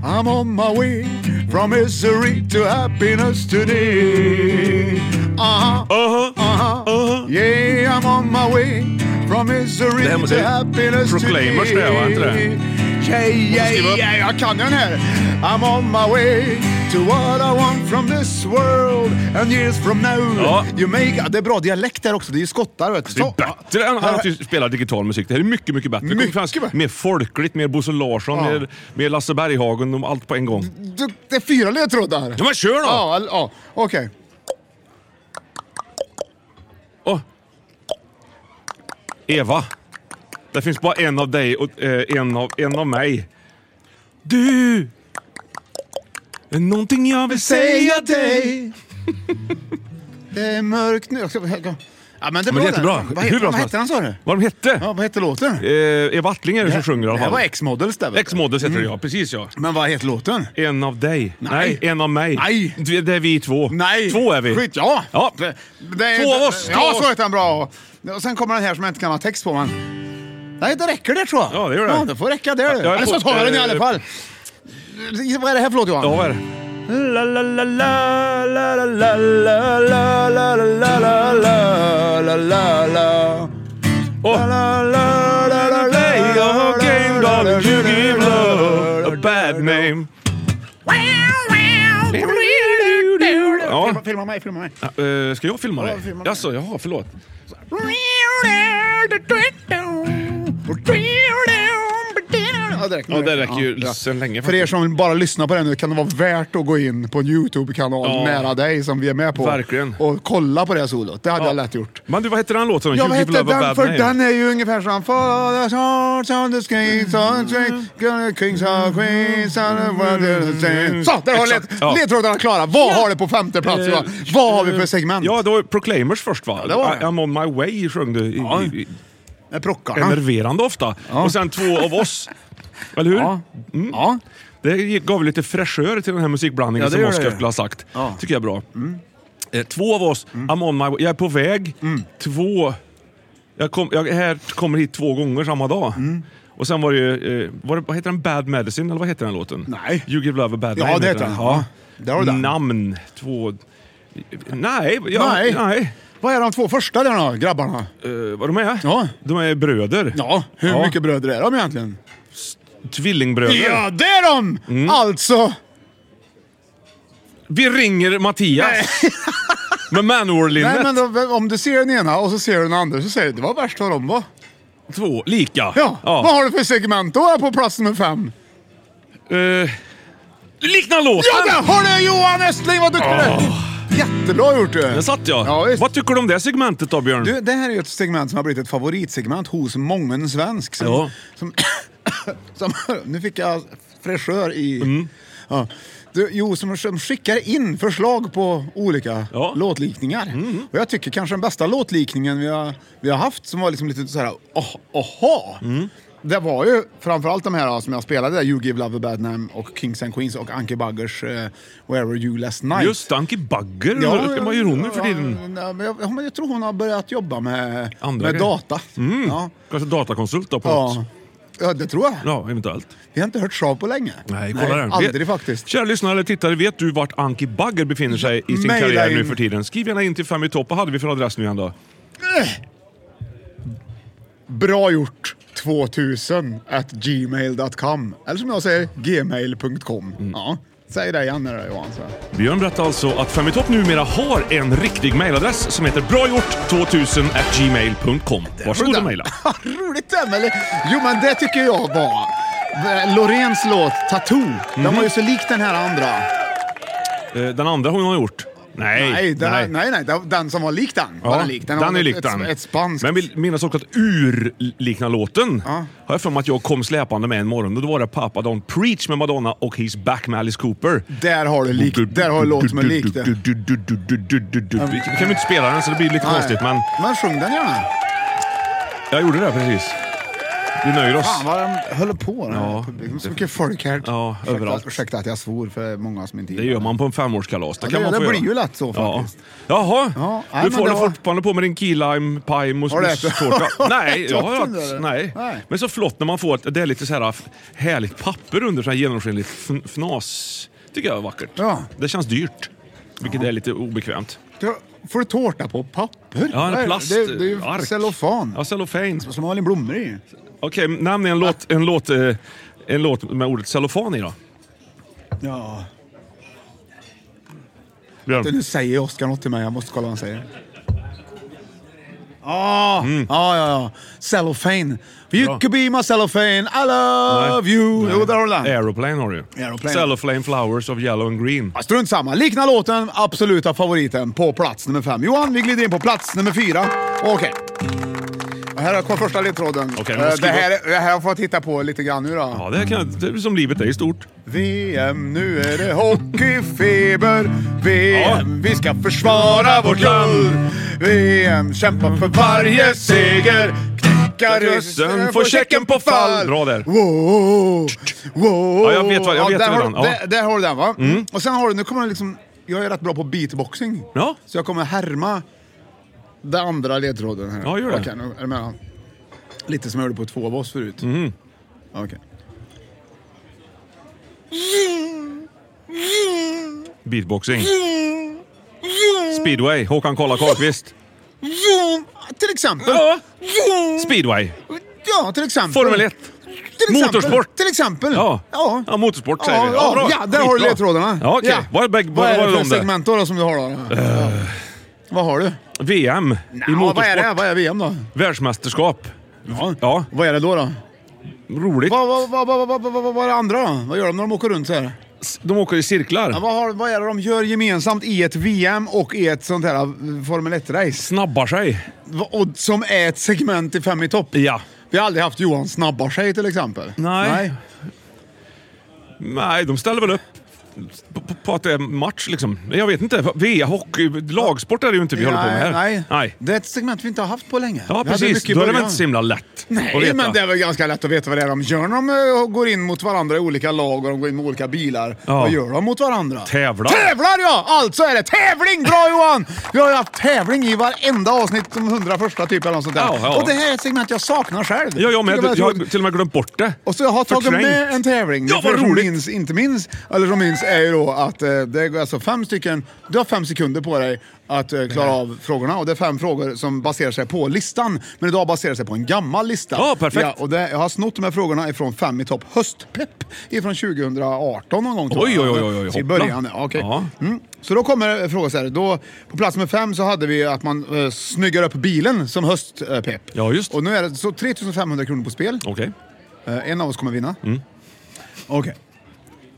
Speaker 1: I'm on my way from misery to happiness today. Aha,
Speaker 2: Uh-huh.
Speaker 1: aha, yeah, I'm on my way from misery
Speaker 2: Det här måste
Speaker 1: to
Speaker 2: ju-
Speaker 1: happiness
Speaker 2: Proclaimers det,
Speaker 1: today.
Speaker 2: va? Inte det?
Speaker 1: Yeah, yeah,
Speaker 2: skriva upp.
Speaker 1: yeah, jag kan den här. I'm on my way to what I want from this world and years from now.
Speaker 2: Ja.
Speaker 1: You make... Det är bra dialekt där också, det är ju skottar vet du.
Speaker 2: Det är
Speaker 1: Så-
Speaker 2: bättre än att du spelar digital musik. Det här är mycket, mycket bättre. Det kommer
Speaker 1: Mycket
Speaker 2: finnas
Speaker 1: bättre.
Speaker 2: Mer folkligt, mer Bosse Larsson,
Speaker 1: Ja.
Speaker 2: mer, mer Lasse Berghagen, de- allt på en gång.
Speaker 1: Du, det är fyra ledtrådar.
Speaker 2: Ja, men kör då!
Speaker 1: Ja, eller- ja. okej.
Speaker 2: Åh. Eva, det finns bara en av dig och eh, en, av, en av mig. Du! Det är Någonting jag vill säga dig.
Speaker 1: det är mörkt nu. Jag ska- Ja, men det är
Speaker 2: Men
Speaker 1: bra
Speaker 2: det är jättebra.
Speaker 1: den. Vad heter,
Speaker 2: Hur bra
Speaker 1: vad
Speaker 2: som
Speaker 1: heter den
Speaker 2: helst.
Speaker 1: sa du?
Speaker 2: Vad de hette?
Speaker 1: Ja, vad heter låten?
Speaker 2: Eh, Eva Attling är det som sjunger i alla
Speaker 1: Det här
Speaker 2: fall.
Speaker 1: var X-Models där vet du.
Speaker 2: X-Models heter det ja, precis ja.
Speaker 1: Men vad heter låten?
Speaker 2: En av dig.
Speaker 1: Nej.
Speaker 2: en av mig.
Speaker 1: Nej.
Speaker 2: Du- Det är vi två.
Speaker 1: Nej!
Speaker 2: Två är vi.
Speaker 1: Skit, ja!
Speaker 2: Ja.
Speaker 1: Det- det är-
Speaker 2: Två av oss, två av
Speaker 1: Ja,
Speaker 2: oss.
Speaker 1: så heter den bra. Och sen kommer den här som jag inte kan ha text på. Men... Nej, det räcker det tror jag.
Speaker 2: Ja, det gör det.
Speaker 1: Ja, det får räcka där du.
Speaker 2: jag är
Speaker 1: Eller så
Speaker 2: på-
Speaker 1: tar jag den i
Speaker 2: eh,
Speaker 1: alla fall. Vad är det här för låt Johan?
Speaker 2: Ja, vad är det? Åh. Ja.
Speaker 1: Filma, filma mig, filma mig.
Speaker 2: Eh, ska jag filma
Speaker 1: Ja,
Speaker 2: dig?
Speaker 1: filma mig.
Speaker 2: Jaså, jaha, förlåt.
Speaker 1: Ja, det räcker,
Speaker 2: Ja, det räcker ju sen länge
Speaker 1: För er
Speaker 2: faktiskt.
Speaker 1: som bara lyssnar på det nu kan det vara värt att gå in på en YouTube-kanal
Speaker 2: Ja.
Speaker 1: nära dig som vi är med på.
Speaker 2: Verkligen.
Speaker 1: Och kolla på det här solot. Det hade
Speaker 2: Ja.
Speaker 1: jag lätt gjort.
Speaker 2: Men du, vad hette den låten?
Speaker 1: Ja,
Speaker 2: You
Speaker 1: vad
Speaker 2: Give
Speaker 1: hette
Speaker 2: Love a
Speaker 1: den?
Speaker 2: Bad
Speaker 1: För
Speaker 2: Name.
Speaker 1: den är ju ungefär som... Father's hearts on the skates on the street, gonna Kings are queens on the world is the same. Så, där har led,
Speaker 2: Exakt, ja. Eh,
Speaker 1: ledtrådarna klara. Vad har du på femte plats Johan? Vad har vi för segment?
Speaker 2: Ja, det var Proclaimers först va?
Speaker 1: det var det.
Speaker 2: I'm on my way sjöng du. I,
Speaker 1: Ja.
Speaker 2: i, i,
Speaker 1: Med Prockarna.
Speaker 2: enerverande ofta.
Speaker 1: Ja.
Speaker 2: Och sen två av oss. Eller hur? Mm.
Speaker 1: Ja. ja.
Speaker 2: Det gav lite fräschör till den här musikblandningen
Speaker 1: Ja, det
Speaker 2: som
Speaker 1: gör det
Speaker 2: Oscar
Speaker 1: ju.
Speaker 2: skulle ha sagt.
Speaker 1: Ja. Mm.
Speaker 2: tycker jag är bra. Eh, två av oss, I'm on my way. Jag är på väg.
Speaker 1: Mm.
Speaker 2: Två... Jag, kom, jag här, kommer hit två gånger samma dag.
Speaker 1: Mm.
Speaker 2: Och sen var det ju... Eh, var det, vad heter den? Bad Medicine, eller vad heter den låten?
Speaker 1: Nej.
Speaker 2: You Give Love a Bad
Speaker 1: Ja,
Speaker 2: Name
Speaker 1: det heter den. Ja. Där har du den.
Speaker 2: Namn. Två... Nej. Jag, nej.
Speaker 1: Nej.
Speaker 2: nej.
Speaker 1: Vad är de två första där då, grabbarna?
Speaker 2: Eh, vad de är?
Speaker 1: Ja.
Speaker 2: De är bröder.
Speaker 1: Ja, hur
Speaker 2: Ja.
Speaker 1: mycket bröder är de egentligen?
Speaker 2: Tvillingbröder.
Speaker 1: Ja, det är de!
Speaker 2: Mm.
Speaker 1: Alltså...
Speaker 2: Vi ringer Mattias. Med Manowar-linnet.
Speaker 1: Nej, men då, om du ser den ena och så ser du den andra så säger du det var värst vad de var.
Speaker 2: Två lika.
Speaker 1: Ja. Vad har du för segment då här på plats nummer fem?
Speaker 2: Eh, liknar låten!
Speaker 1: Ja, där har du Johan Östling! Vad duktig du är! Jättebra gjort du!
Speaker 2: Där satt jag.
Speaker 1: Ja, visst.
Speaker 2: Vad tycker du om det segmentet då, Björn?
Speaker 1: Du, det här är ju ett segment som har blivit ett favoritsegment hos mången svensk. Som,
Speaker 2: Ja.
Speaker 1: som, som, nu fick jag fräschör i...
Speaker 2: Mm.
Speaker 1: Ja. Du, jo, som, som skickar in förslag på olika
Speaker 2: Ja. Mm.
Speaker 1: låtlikningar. Och jag
Speaker 2: Mm.
Speaker 1: tycker kanske den bästa låtlikningen vi har, vi har haft som var liksom lite så här, oh, aha. Det var ju framförallt de här som jag spelade, där, You Give Love a Bad Name och Kings and Queens och Anke Baggers eh, Wherever You Last Night.
Speaker 2: Just Anki Bagger ja, ska man ju hon nu för tiden.
Speaker 1: Ja, men jag, ja, men jag tror hon har börjat jobba med,
Speaker 2: Andra grejer.
Speaker 1: med
Speaker 2: Mm.
Speaker 1: data. Ja.
Speaker 2: Kanske datakonsult då på
Speaker 1: Ja.
Speaker 2: något.
Speaker 1: ja, det tror jag.
Speaker 2: Ja, eventuellt.
Speaker 1: Vi har inte hört Saab på länge.
Speaker 2: Nej, kolla den.
Speaker 1: Aldrig
Speaker 2: Vet-
Speaker 1: faktiskt.
Speaker 2: Kära lyssnare eller tittare, vet du vart Anki Bagger befinner sig i sin
Speaker 1: Maila
Speaker 2: karriär nu
Speaker 1: in.
Speaker 2: för tiden? Skriv gärna in till Fem i topp. Vad hade vi för adress nu igen då?
Speaker 1: Eh! Bra gjort! 2000 at gmail.com eller som jag säger gmail.com.
Speaker 2: Mm.
Speaker 1: Ja, säg det igen nu då Johan. Så.
Speaker 2: Björn berättade alltså att Fem i topp numera har en riktig mailadress som heter bragjort2000gmail.com. Varsågod och mejla.
Speaker 1: Roligt det eller? Jo men det tycker jag var. Eh, Loreens låt Tattoo, den
Speaker 2: Mhm.
Speaker 1: var ju så lik den här andra.
Speaker 2: Eh, Den andra hon har gjort? Nej,
Speaker 1: Nej, den, nej. nej, den- den som var lik den.
Speaker 2: Ja,
Speaker 1: var lik.
Speaker 2: den,
Speaker 1: var
Speaker 2: är
Speaker 1: ett-
Speaker 2: lik
Speaker 1: ett,
Speaker 2: den.
Speaker 1: Ett, spanskt.
Speaker 2: Men vill minnas också att urlikna låten
Speaker 1: Ja.
Speaker 2: har jag för mig att jag kom släpande med en morgon och då var det Papa Don't Preach med Madonna och He's Back med Alice Cooper.
Speaker 1: Där har du lik, där har du låt som är lik det.
Speaker 2: Vi kan ju inte spela den så det blir lite konstigt men
Speaker 1: Men sjung den gärna.
Speaker 2: jag gjorde det precis. Vi nöjer oss.
Speaker 1: Fan vad de höll på. den här
Speaker 2: Ja,
Speaker 1: publiken. så mycket folk här.
Speaker 2: Ja,
Speaker 1: ursäkta,
Speaker 2: överallt.
Speaker 1: ursäkta att jag svor för många som inte
Speaker 2: Det gör man på en femårskalas. Det,
Speaker 1: Ja,
Speaker 2: kan
Speaker 1: det-
Speaker 2: man
Speaker 1: det
Speaker 2: få
Speaker 1: blir
Speaker 2: göra.
Speaker 1: ju lätt så faktiskt.
Speaker 2: Ja. Jaha,
Speaker 1: Ja, nej,
Speaker 2: du
Speaker 1: men
Speaker 2: får
Speaker 1: det
Speaker 2: det
Speaker 1: var-
Speaker 2: fortfarande på med din key lime pie mousse
Speaker 1: Har du
Speaker 2: mousse
Speaker 1: ätit-
Speaker 2: tårta. Nej, jag
Speaker 1: Tårtan
Speaker 2: har
Speaker 1: där?
Speaker 2: haft, nej.
Speaker 1: Nej.
Speaker 2: Men så flott när man får ett, det är lite så här f- härligt papper under, så här genomskinligt fn- fnas. Tycker jag är vackert.
Speaker 1: Ja.
Speaker 2: Det känns dyrt. Vilket är lite obekvämt.
Speaker 1: Du- Får du tårta på papper?
Speaker 2: Ja,
Speaker 1: Vad är
Speaker 2: en
Speaker 1: det?
Speaker 2: plast.
Speaker 1: Det, det är ju
Speaker 2: ark.
Speaker 1: cellofan.
Speaker 2: Ja, cellofan.
Speaker 1: Som har en blommor i.
Speaker 2: Okej, namn är en låt, en, låt, eh, en låt med ordet cellofan i då.
Speaker 1: Ja.
Speaker 2: Björn.
Speaker 1: Nu säger Oskar något till mig. Jag måste kolla vad han säger. Ah, Ja, ja, ja. Cellophane. You
Speaker 2: Mm. Bra.
Speaker 1: could be my cellophane. I love
Speaker 2: Nej.
Speaker 1: you. Jo, där har du den.
Speaker 2: Aeroplane har du
Speaker 1: Aeroplane.
Speaker 2: Cellophane Flowers of Yellow and Green.
Speaker 1: Ja, Strunt samma. Likna låten, absoluta favoriten, på plats nummer fem. Johan, vi glider in på plats nummer fyra. Okej. Här har första ledtråden.
Speaker 2: Mm. Okej, men
Speaker 1: Eh, det,
Speaker 2: skriv
Speaker 1: här, det här har jag fått titta på lite grann nu då.
Speaker 2: Ja, det, här kan, det är som livet är i stort.
Speaker 1: VM, nu är det hockeyfeber. VM, vi ska försvara vårt land. VM, kämpa för varje seger. Knäcka ryssen, få checken på fall.
Speaker 2: Bra där.
Speaker 1: Wow, wow.
Speaker 2: Ja, jag vet vad- jag vet
Speaker 1: där, har,
Speaker 2: vad den- ja. Mm.
Speaker 1: där, där har du den va? Och sen har du, nu kommer jag liksom, jag är rätt bra på beatboxing.
Speaker 2: Ja.
Speaker 1: Så jag kommer härma den andra ledtråden här.
Speaker 2: Ja, gör det.
Speaker 1: Okej, nu är det med. Lite som jag gjorde på två av oss förut. Mm. Okej.
Speaker 2: Beatboxing. Speedway. Håkan Kolla Karlqvist.
Speaker 1: Zoom, till exempel.
Speaker 2: Ja.
Speaker 1: Zoom.
Speaker 2: Speedway.
Speaker 1: Ja, till exempel.
Speaker 2: Formel 1.
Speaker 1: Till exempel.
Speaker 2: Motorsport.
Speaker 1: Till exempel.
Speaker 2: Ja.
Speaker 1: Ja,
Speaker 2: Ja, motorsport säger
Speaker 1: ja,
Speaker 2: vi. Ja,
Speaker 1: Ja,
Speaker 2: bra.
Speaker 1: ja, där har du
Speaker 2: Skitbra.
Speaker 1: ledtrådarna.
Speaker 2: Ja, okej. Vad är bägge-
Speaker 1: vad
Speaker 2: vad
Speaker 1: är det
Speaker 2: är
Speaker 1: för
Speaker 2: de där?
Speaker 1: segment då, då som du har då? Ja. Vad har du?
Speaker 2: VM i
Speaker 1: Ja, vad är det?
Speaker 2: motorsport.
Speaker 1: Vad är VM då?
Speaker 2: Världsmästerskap.
Speaker 1: Ja.
Speaker 2: Ja,
Speaker 1: Vad är det då? då?
Speaker 2: roligt.
Speaker 1: Vad, vad, vad, vad, vad, vad, vad, vad är det andra då? Vad gör de när de åker runt så här?
Speaker 2: De åker i cirklar.
Speaker 1: Ja, vad, har, vad är det de gör gemensamt i ett VM och i ett sånt här eh, Formel 1-race?
Speaker 2: Snabbar sig.
Speaker 1: Va- Och som är ett segment i Fem i topp.
Speaker 2: Ja.
Speaker 1: Vi har aldrig haft Johan snabbar sig till exempel.
Speaker 2: Nej. Nej, de ställer väl upp på, på, på att det är match liksom. Jag vet inte. VM, hockey, lagsport är det ju inte vi håller på med här.
Speaker 1: Nej,
Speaker 2: nej.
Speaker 1: Det är ett segment vi inte har haft på länge. Vi
Speaker 2: Ja,
Speaker 1: hade
Speaker 2: precis.
Speaker 1: mycket i
Speaker 2: Då är det väl
Speaker 1: början.
Speaker 2: inte så himla lätt att
Speaker 1: Nej,
Speaker 2: veta.
Speaker 1: men det är väl ganska lätt att veta vad det är de gör när de eh, går in mot varandra i olika lag och de går in med olika bilar.
Speaker 2: Ja.
Speaker 1: Vad gör de mot varandra?
Speaker 2: Tävlar.
Speaker 1: Tävlar ja! Alltså är det tävling! Bra Johan! Vi har ju haft tävling i varenda avsnitt, de hundra första typ eller något sånt där.
Speaker 2: Ja, ja.
Speaker 1: Och det här är ett segment jag saknar själv.
Speaker 2: Ja, jag med.
Speaker 1: Tycker det
Speaker 2: Jag
Speaker 1: är tråkigt.
Speaker 2: har till och med glömt bort det.
Speaker 1: Och så jag har tagit
Speaker 2: Förträngt.
Speaker 1: med en tävling.
Speaker 2: Ja,
Speaker 1: För
Speaker 2: vad
Speaker 1: er som
Speaker 2: roligt!
Speaker 1: minns, inte minns, eller som minns, är ju då att eh, det är alltså fem stycken, du har fem sekunder på dig att eh, klara av frågorna. Och det är fem frågor som baserar sig på listan, men idag baserar sig på en gammal lista.
Speaker 2: Ja, perfekt.
Speaker 1: och det, jag har snott de här frågorna ifrån Fem i topp höstpepp ifrån 2018 någon gång. tror
Speaker 2: Oj,
Speaker 1: jag.
Speaker 2: oj, oj, oj, oj,
Speaker 1: Så I
Speaker 2: hoppla.
Speaker 1: början, ja, okej.
Speaker 2: Ja.
Speaker 1: Mm. Så då kommer frågan så här. Då, på plats nummer fem så hade vi att man eh, snyggar upp bilen som höstpepp.
Speaker 2: Ja, just.
Speaker 1: Och nu är det så 3500 kronor på spel.
Speaker 2: Okej.
Speaker 1: Eh, En av oss kommer vinna. Okej.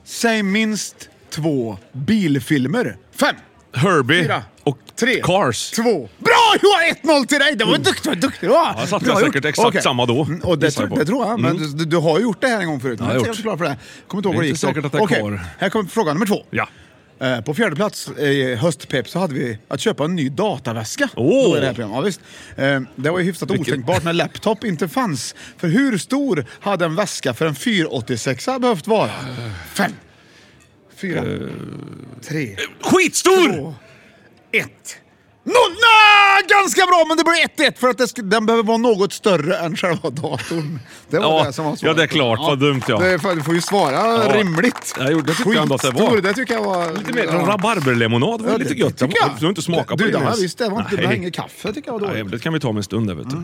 Speaker 1: Säg minst två bilfilmer. Fem,
Speaker 2: Herbie
Speaker 1: fyra,
Speaker 2: och
Speaker 1: tre,
Speaker 2: Cars. Mm.
Speaker 1: två. Bra Johan! 1-0 till dig! Det var duktigt, vad duktig du var!
Speaker 2: Ja, jag satte
Speaker 1: Bra
Speaker 2: säkert
Speaker 1: gjort.
Speaker 2: exakt
Speaker 1: Okej.
Speaker 2: samma då,
Speaker 1: Mm, Och det,
Speaker 2: gissar
Speaker 1: tror-
Speaker 2: jag på.
Speaker 1: det tror jag. Men
Speaker 2: Mm.
Speaker 1: du, du har gjort det här en gång förut.
Speaker 2: jag
Speaker 1: Men
Speaker 2: har
Speaker 1: jag är
Speaker 2: gjort.
Speaker 1: inte klar för det. Kommer inte ihåg
Speaker 2: Det är
Speaker 1: hur det
Speaker 2: inte
Speaker 1: gick. då.
Speaker 2: säkert att jag är
Speaker 1: Okej,
Speaker 2: kvar.
Speaker 1: Här kommer fråga nummer två.
Speaker 2: Ja.
Speaker 1: Eh, På fjärde plats i höstpepp så hade vi att köpa en ny dataväska.
Speaker 2: Åh!
Speaker 1: Då är det, här programmet. ja, visst. Eh, det var ju hyfsat
Speaker 2: Vilken-
Speaker 1: otänkbart när laptop inte fanns. För hur stor hade en väska för en 486 behövt vara?
Speaker 2: Eh.
Speaker 1: Fem, fyra, tre,
Speaker 2: Skitstor!
Speaker 1: ett. No, na, ganska bra, men det blir 1-1 för att det, sk- den behöver vara något större än själva datorn. Det var
Speaker 2: Ja,
Speaker 1: det som var svaret.
Speaker 2: ja, det är klart. Vad dumt, ja.
Speaker 1: Det är fan- Du får ju svara
Speaker 2: Ja.
Speaker 1: rimligt.
Speaker 2: Jag gjorde- det tyckte jag ändå att det var.
Speaker 1: Skitstor, Det tycker jag var...
Speaker 2: Lite mer som rabarberlemonad var
Speaker 1: Ja,
Speaker 2: ju lite
Speaker 1: det
Speaker 2: gött.
Speaker 1: tycker jag.
Speaker 2: Du har inte smakat på
Speaker 1: du,
Speaker 2: det.
Speaker 1: det.
Speaker 2: ens.
Speaker 1: Visst, det var inte
Speaker 2: Nej.
Speaker 1: bra. Inget kaffe Mm. tycker jag var
Speaker 2: Nej,
Speaker 1: dåligt.
Speaker 2: det kan vi ta om en stund det vet du.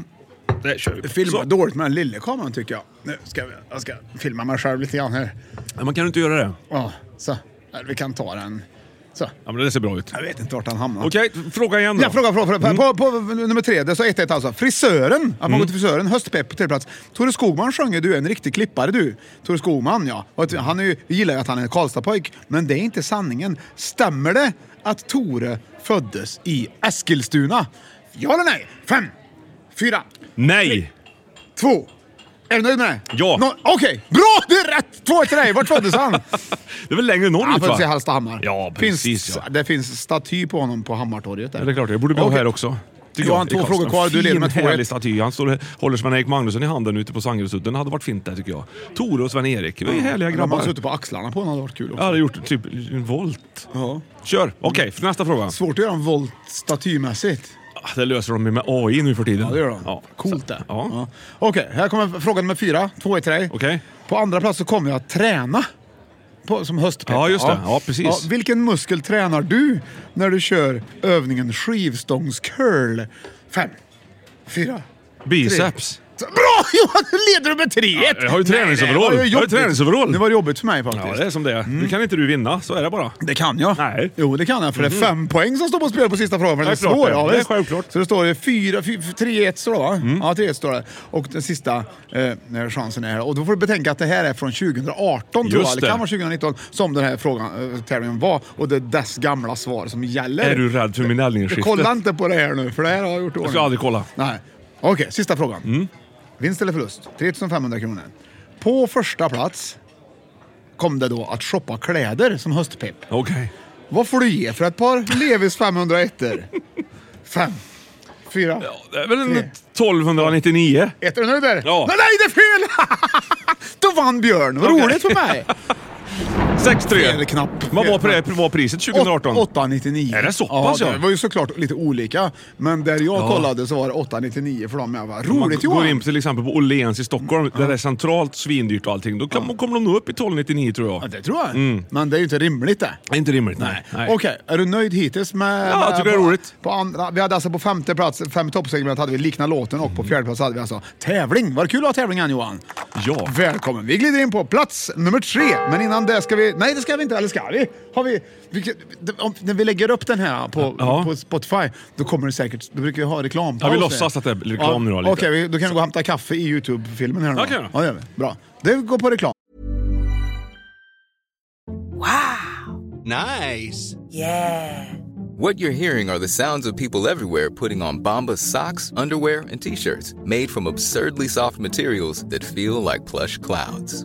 Speaker 2: Det kör vi på.
Speaker 1: Filma
Speaker 2: Så.
Speaker 1: dåligt med den lilla kameran tycker jag. Nu ska vi, jag ska filma mig själv lite grann här.
Speaker 2: Nej, man kan ju inte göra det.
Speaker 1: Ja, så. Eller Vi kan ta den. Så.
Speaker 2: Ja, men det ser bra ut.
Speaker 1: Jag vet inte vart han hamnar.
Speaker 2: Okej, fråga igen då. Mm.
Speaker 1: Ja, fråga, fråga, fråga. På, på, nummer tre, det sa 1-1 alltså. Frisören, att man går till frisören, höstpepp på tredje plats. Tore Skogman sjöng ju, du är en riktig klippare du. Tore Skogman ja. Och att Han är ju, vi gillar ju att han är Karlstadpojk, men det är inte sanningen. Stämmer det att Tore föddes i Eskilstuna? Ja eller nej? Fem, fyra,
Speaker 2: Nej!
Speaker 1: två. Är du nöjd med det?
Speaker 2: Ja.
Speaker 1: Nå- Okej, bra! Det är rätt! Två till dig. Vart föddes han?
Speaker 2: Det är väl längre
Speaker 1: Han
Speaker 2: norrut
Speaker 1: föddes i
Speaker 2: va?
Speaker 1: Hallstahammar.
Speaker 2: Ja, precis,
Speaker 1: finns,
Speaker 2: ja.
Speaker 1: Det finns staty på honom på Hammartorget. Där.
Speaker 2: Ja, det är klart, jag borde bli
Speaker 1: Okej.
Speaker 2: här också. tycker
Speaker 1: Johan,
Speaker 2: jag, i
Speaker 1: två
Speaker 2: Karlstad.
Speaker 1: frågor kvar. Du leder med
Speaker 2: Fin,
Speaker 1: 2-1.
Speaker 2: härlig staty. Han står, och håller Sven-Erik Magnusson i handen ute på Sangerhusudden. Det hade varit fint där tycker jag. Tore och Sven-Erik. Det är härliga
Speaker 1: Om man
Speaker 2: grabbar.
Speaker 1: suttit på axlarna på honom hade det varit kul
Speaker 2: Jag
Speaker 1: också.
Speaker 2: hade gjort typ en volt. Kör! Okej, för nästa fråga.
Speaker 1: Svårt att göra en volt statymässigt.
Speaker 2: Ah, Det löser de ju med AI nu för tiden.
Speaker 1: Ja, det gör de.
Speaker 2: Ja.
Speaker 1: Coolt det.
Speaker 2: Ja.
Speaker 1: Ja. Okej, här kommer fråga nummer fyra. Två i tre.
Speaker 2: Okej.
Speaker 1: På andra plats så kommer jag att träna. På, som höstpepp.
Speaker 2: Ja, just det. Ja, precis.
Speaker 1: vilken muskel tränar du när du kör övningen skivstångscurl? Fem, fyra,
Speaker 2: Biceps.
Speaker 1: Bra! Johan, nu leder du med 3-1!
Speaker 2: jag har ju träningsoverall.
Speaker 1: Nej, det var
Speaker 2: Jag har ju
Speaker 1: jobbigt.
Speaker 2: träningsoverall.
Speaker 1: Det var jobbigt för mig faktiskt.
Speaker 2: Ja, det
Speaker 1: det...
Speaker 2: är som det är. Nu kan inte du vinna, så är det bara.
Speaker 1: kan jag.
Speaker 2: Nej. Mhm.
Speaker 1: Jo, det kan jag. För det är fem poäng som står på spel på sista frågan. För den
Speaker 2: Det är klart
Speaker 1: är svår.
Speaker 2: det.
Speaker 1: Ja,
Speaker 2: Det är
Speaker 1: visst.
Speaker 2: självklart. Mm.
Speaker 1: Så det står det 4, 4, 3-1 står det va? Ja, 3-1 står det. Och den sista eh, när chansen är här. Och då får du betänka att det här är från 2018 tror
Speaker 2: Just
Speaker 1: jag. Det kan
Speaker 2: det.
Speaker 1: vara 2019 som den här frågan, eh, tävlingen var. Och det är dess gamla svar som gäller.
Speaker 2: Är du rädd för
Speaker 1: Du
Speaker 2: minellinskiftet?
Speaker 1: Kolla inte på det här nu, för det här har jag gjort i
Speaker 2: Jag
Speaker 1: ordning.
Speaker 2: ska aldrig kolla. Mm.
Speaker 1: Nej. Okej, sista frågan. Vinst eller förlust? 3500 kronor. På första plats kom det då att shoppa kläder som höstpepp.
Speaker 2: Okej.
Speaker 1: Vad får du ge för ett par Levis 501 Fem, fyra,
Speaker 2: Ja, det är väl en
Speaker 1: Tre.
Speaker 2: 1299?
Speaker 1: ett. Är du nöjd där?
Speaker 2: Ja.
Speaker 1: Nej, nej, det är fel! då vann Björn. Vad roligt för mig.
Speaker 2: 6-3.
Speaker 1: Fel knapp.
Speaker 2: Vad
Speaker 1: Fel
Speaker 2: var, pri- var priset 2018?
Speaker 1: 899.
Speaker 2: Är det så pass,
Speaker 1: ja?
Speaker 2: ja?
Speaker 1: Det var ju såklart lite olika. Men där jag
Speaker 2: Ja.
Speaker 1: kollade så var det 899 för dem. Jag bara,
Speaker 2: Om man
Speaker 1: roligt
Speaker 2: går
Speaker 1: Johan!
Speaker 2: in till exempel på Åhléns i Stockholm, där det är centralt svindyrt och allting, då kan, kommer de nog upp i 1299 tror
Speaker 1: Ja,
Speaker 2: jag.
Speaker 1: det tror jag. Men det är ju inte rimligt det.
Speaker 2: Det är inte rimligt, Mm. nej. nej.
Speaker 1: Okej, är du nöjd hittills med...
Speaker 2: Ja, jag
Speaker 1: med-
Speaker 2: tycker det är
Speaker 1: på,
Speaker 2: roligt.
Speaker 1: På andra, vi hade alltså på femte plats, fem toppsegment hade vi likna låten och på fjärde plats hade vi alltså tävling. Var det kul att ha tävlingen Johan?
Speaker 2: Ja.
Speaker 1: Välkommen! Vi glider in på plats nummer tre, men innan det ska vi... Nej, det ska vi inte. Eller ska vi? Har vi, vi om, när vi lägger upp den här på,
Speaker 2: Ja.
Speaker 1: på Spotify, då kommer det säkert... Då brukar vi ha reklampauser.
Speaker 2: Ja, vi låtsas att det är reklam nu då, lite.
Speaker 1: Okej, vi- då kan vi gå och hämta kaffe i YouTube-filmen här nu. då.
Speaker 2: Ja, kan jag.
Speaker 1: ja, det gör vi. Bra. Det går på reklam.
Speaker 4: Nice. Yeah. What you're hearing are the sounds of people everywhere putting on Bombas socks, underwear, and t-shirts made from absurdly soft materials that feel like plush clouds.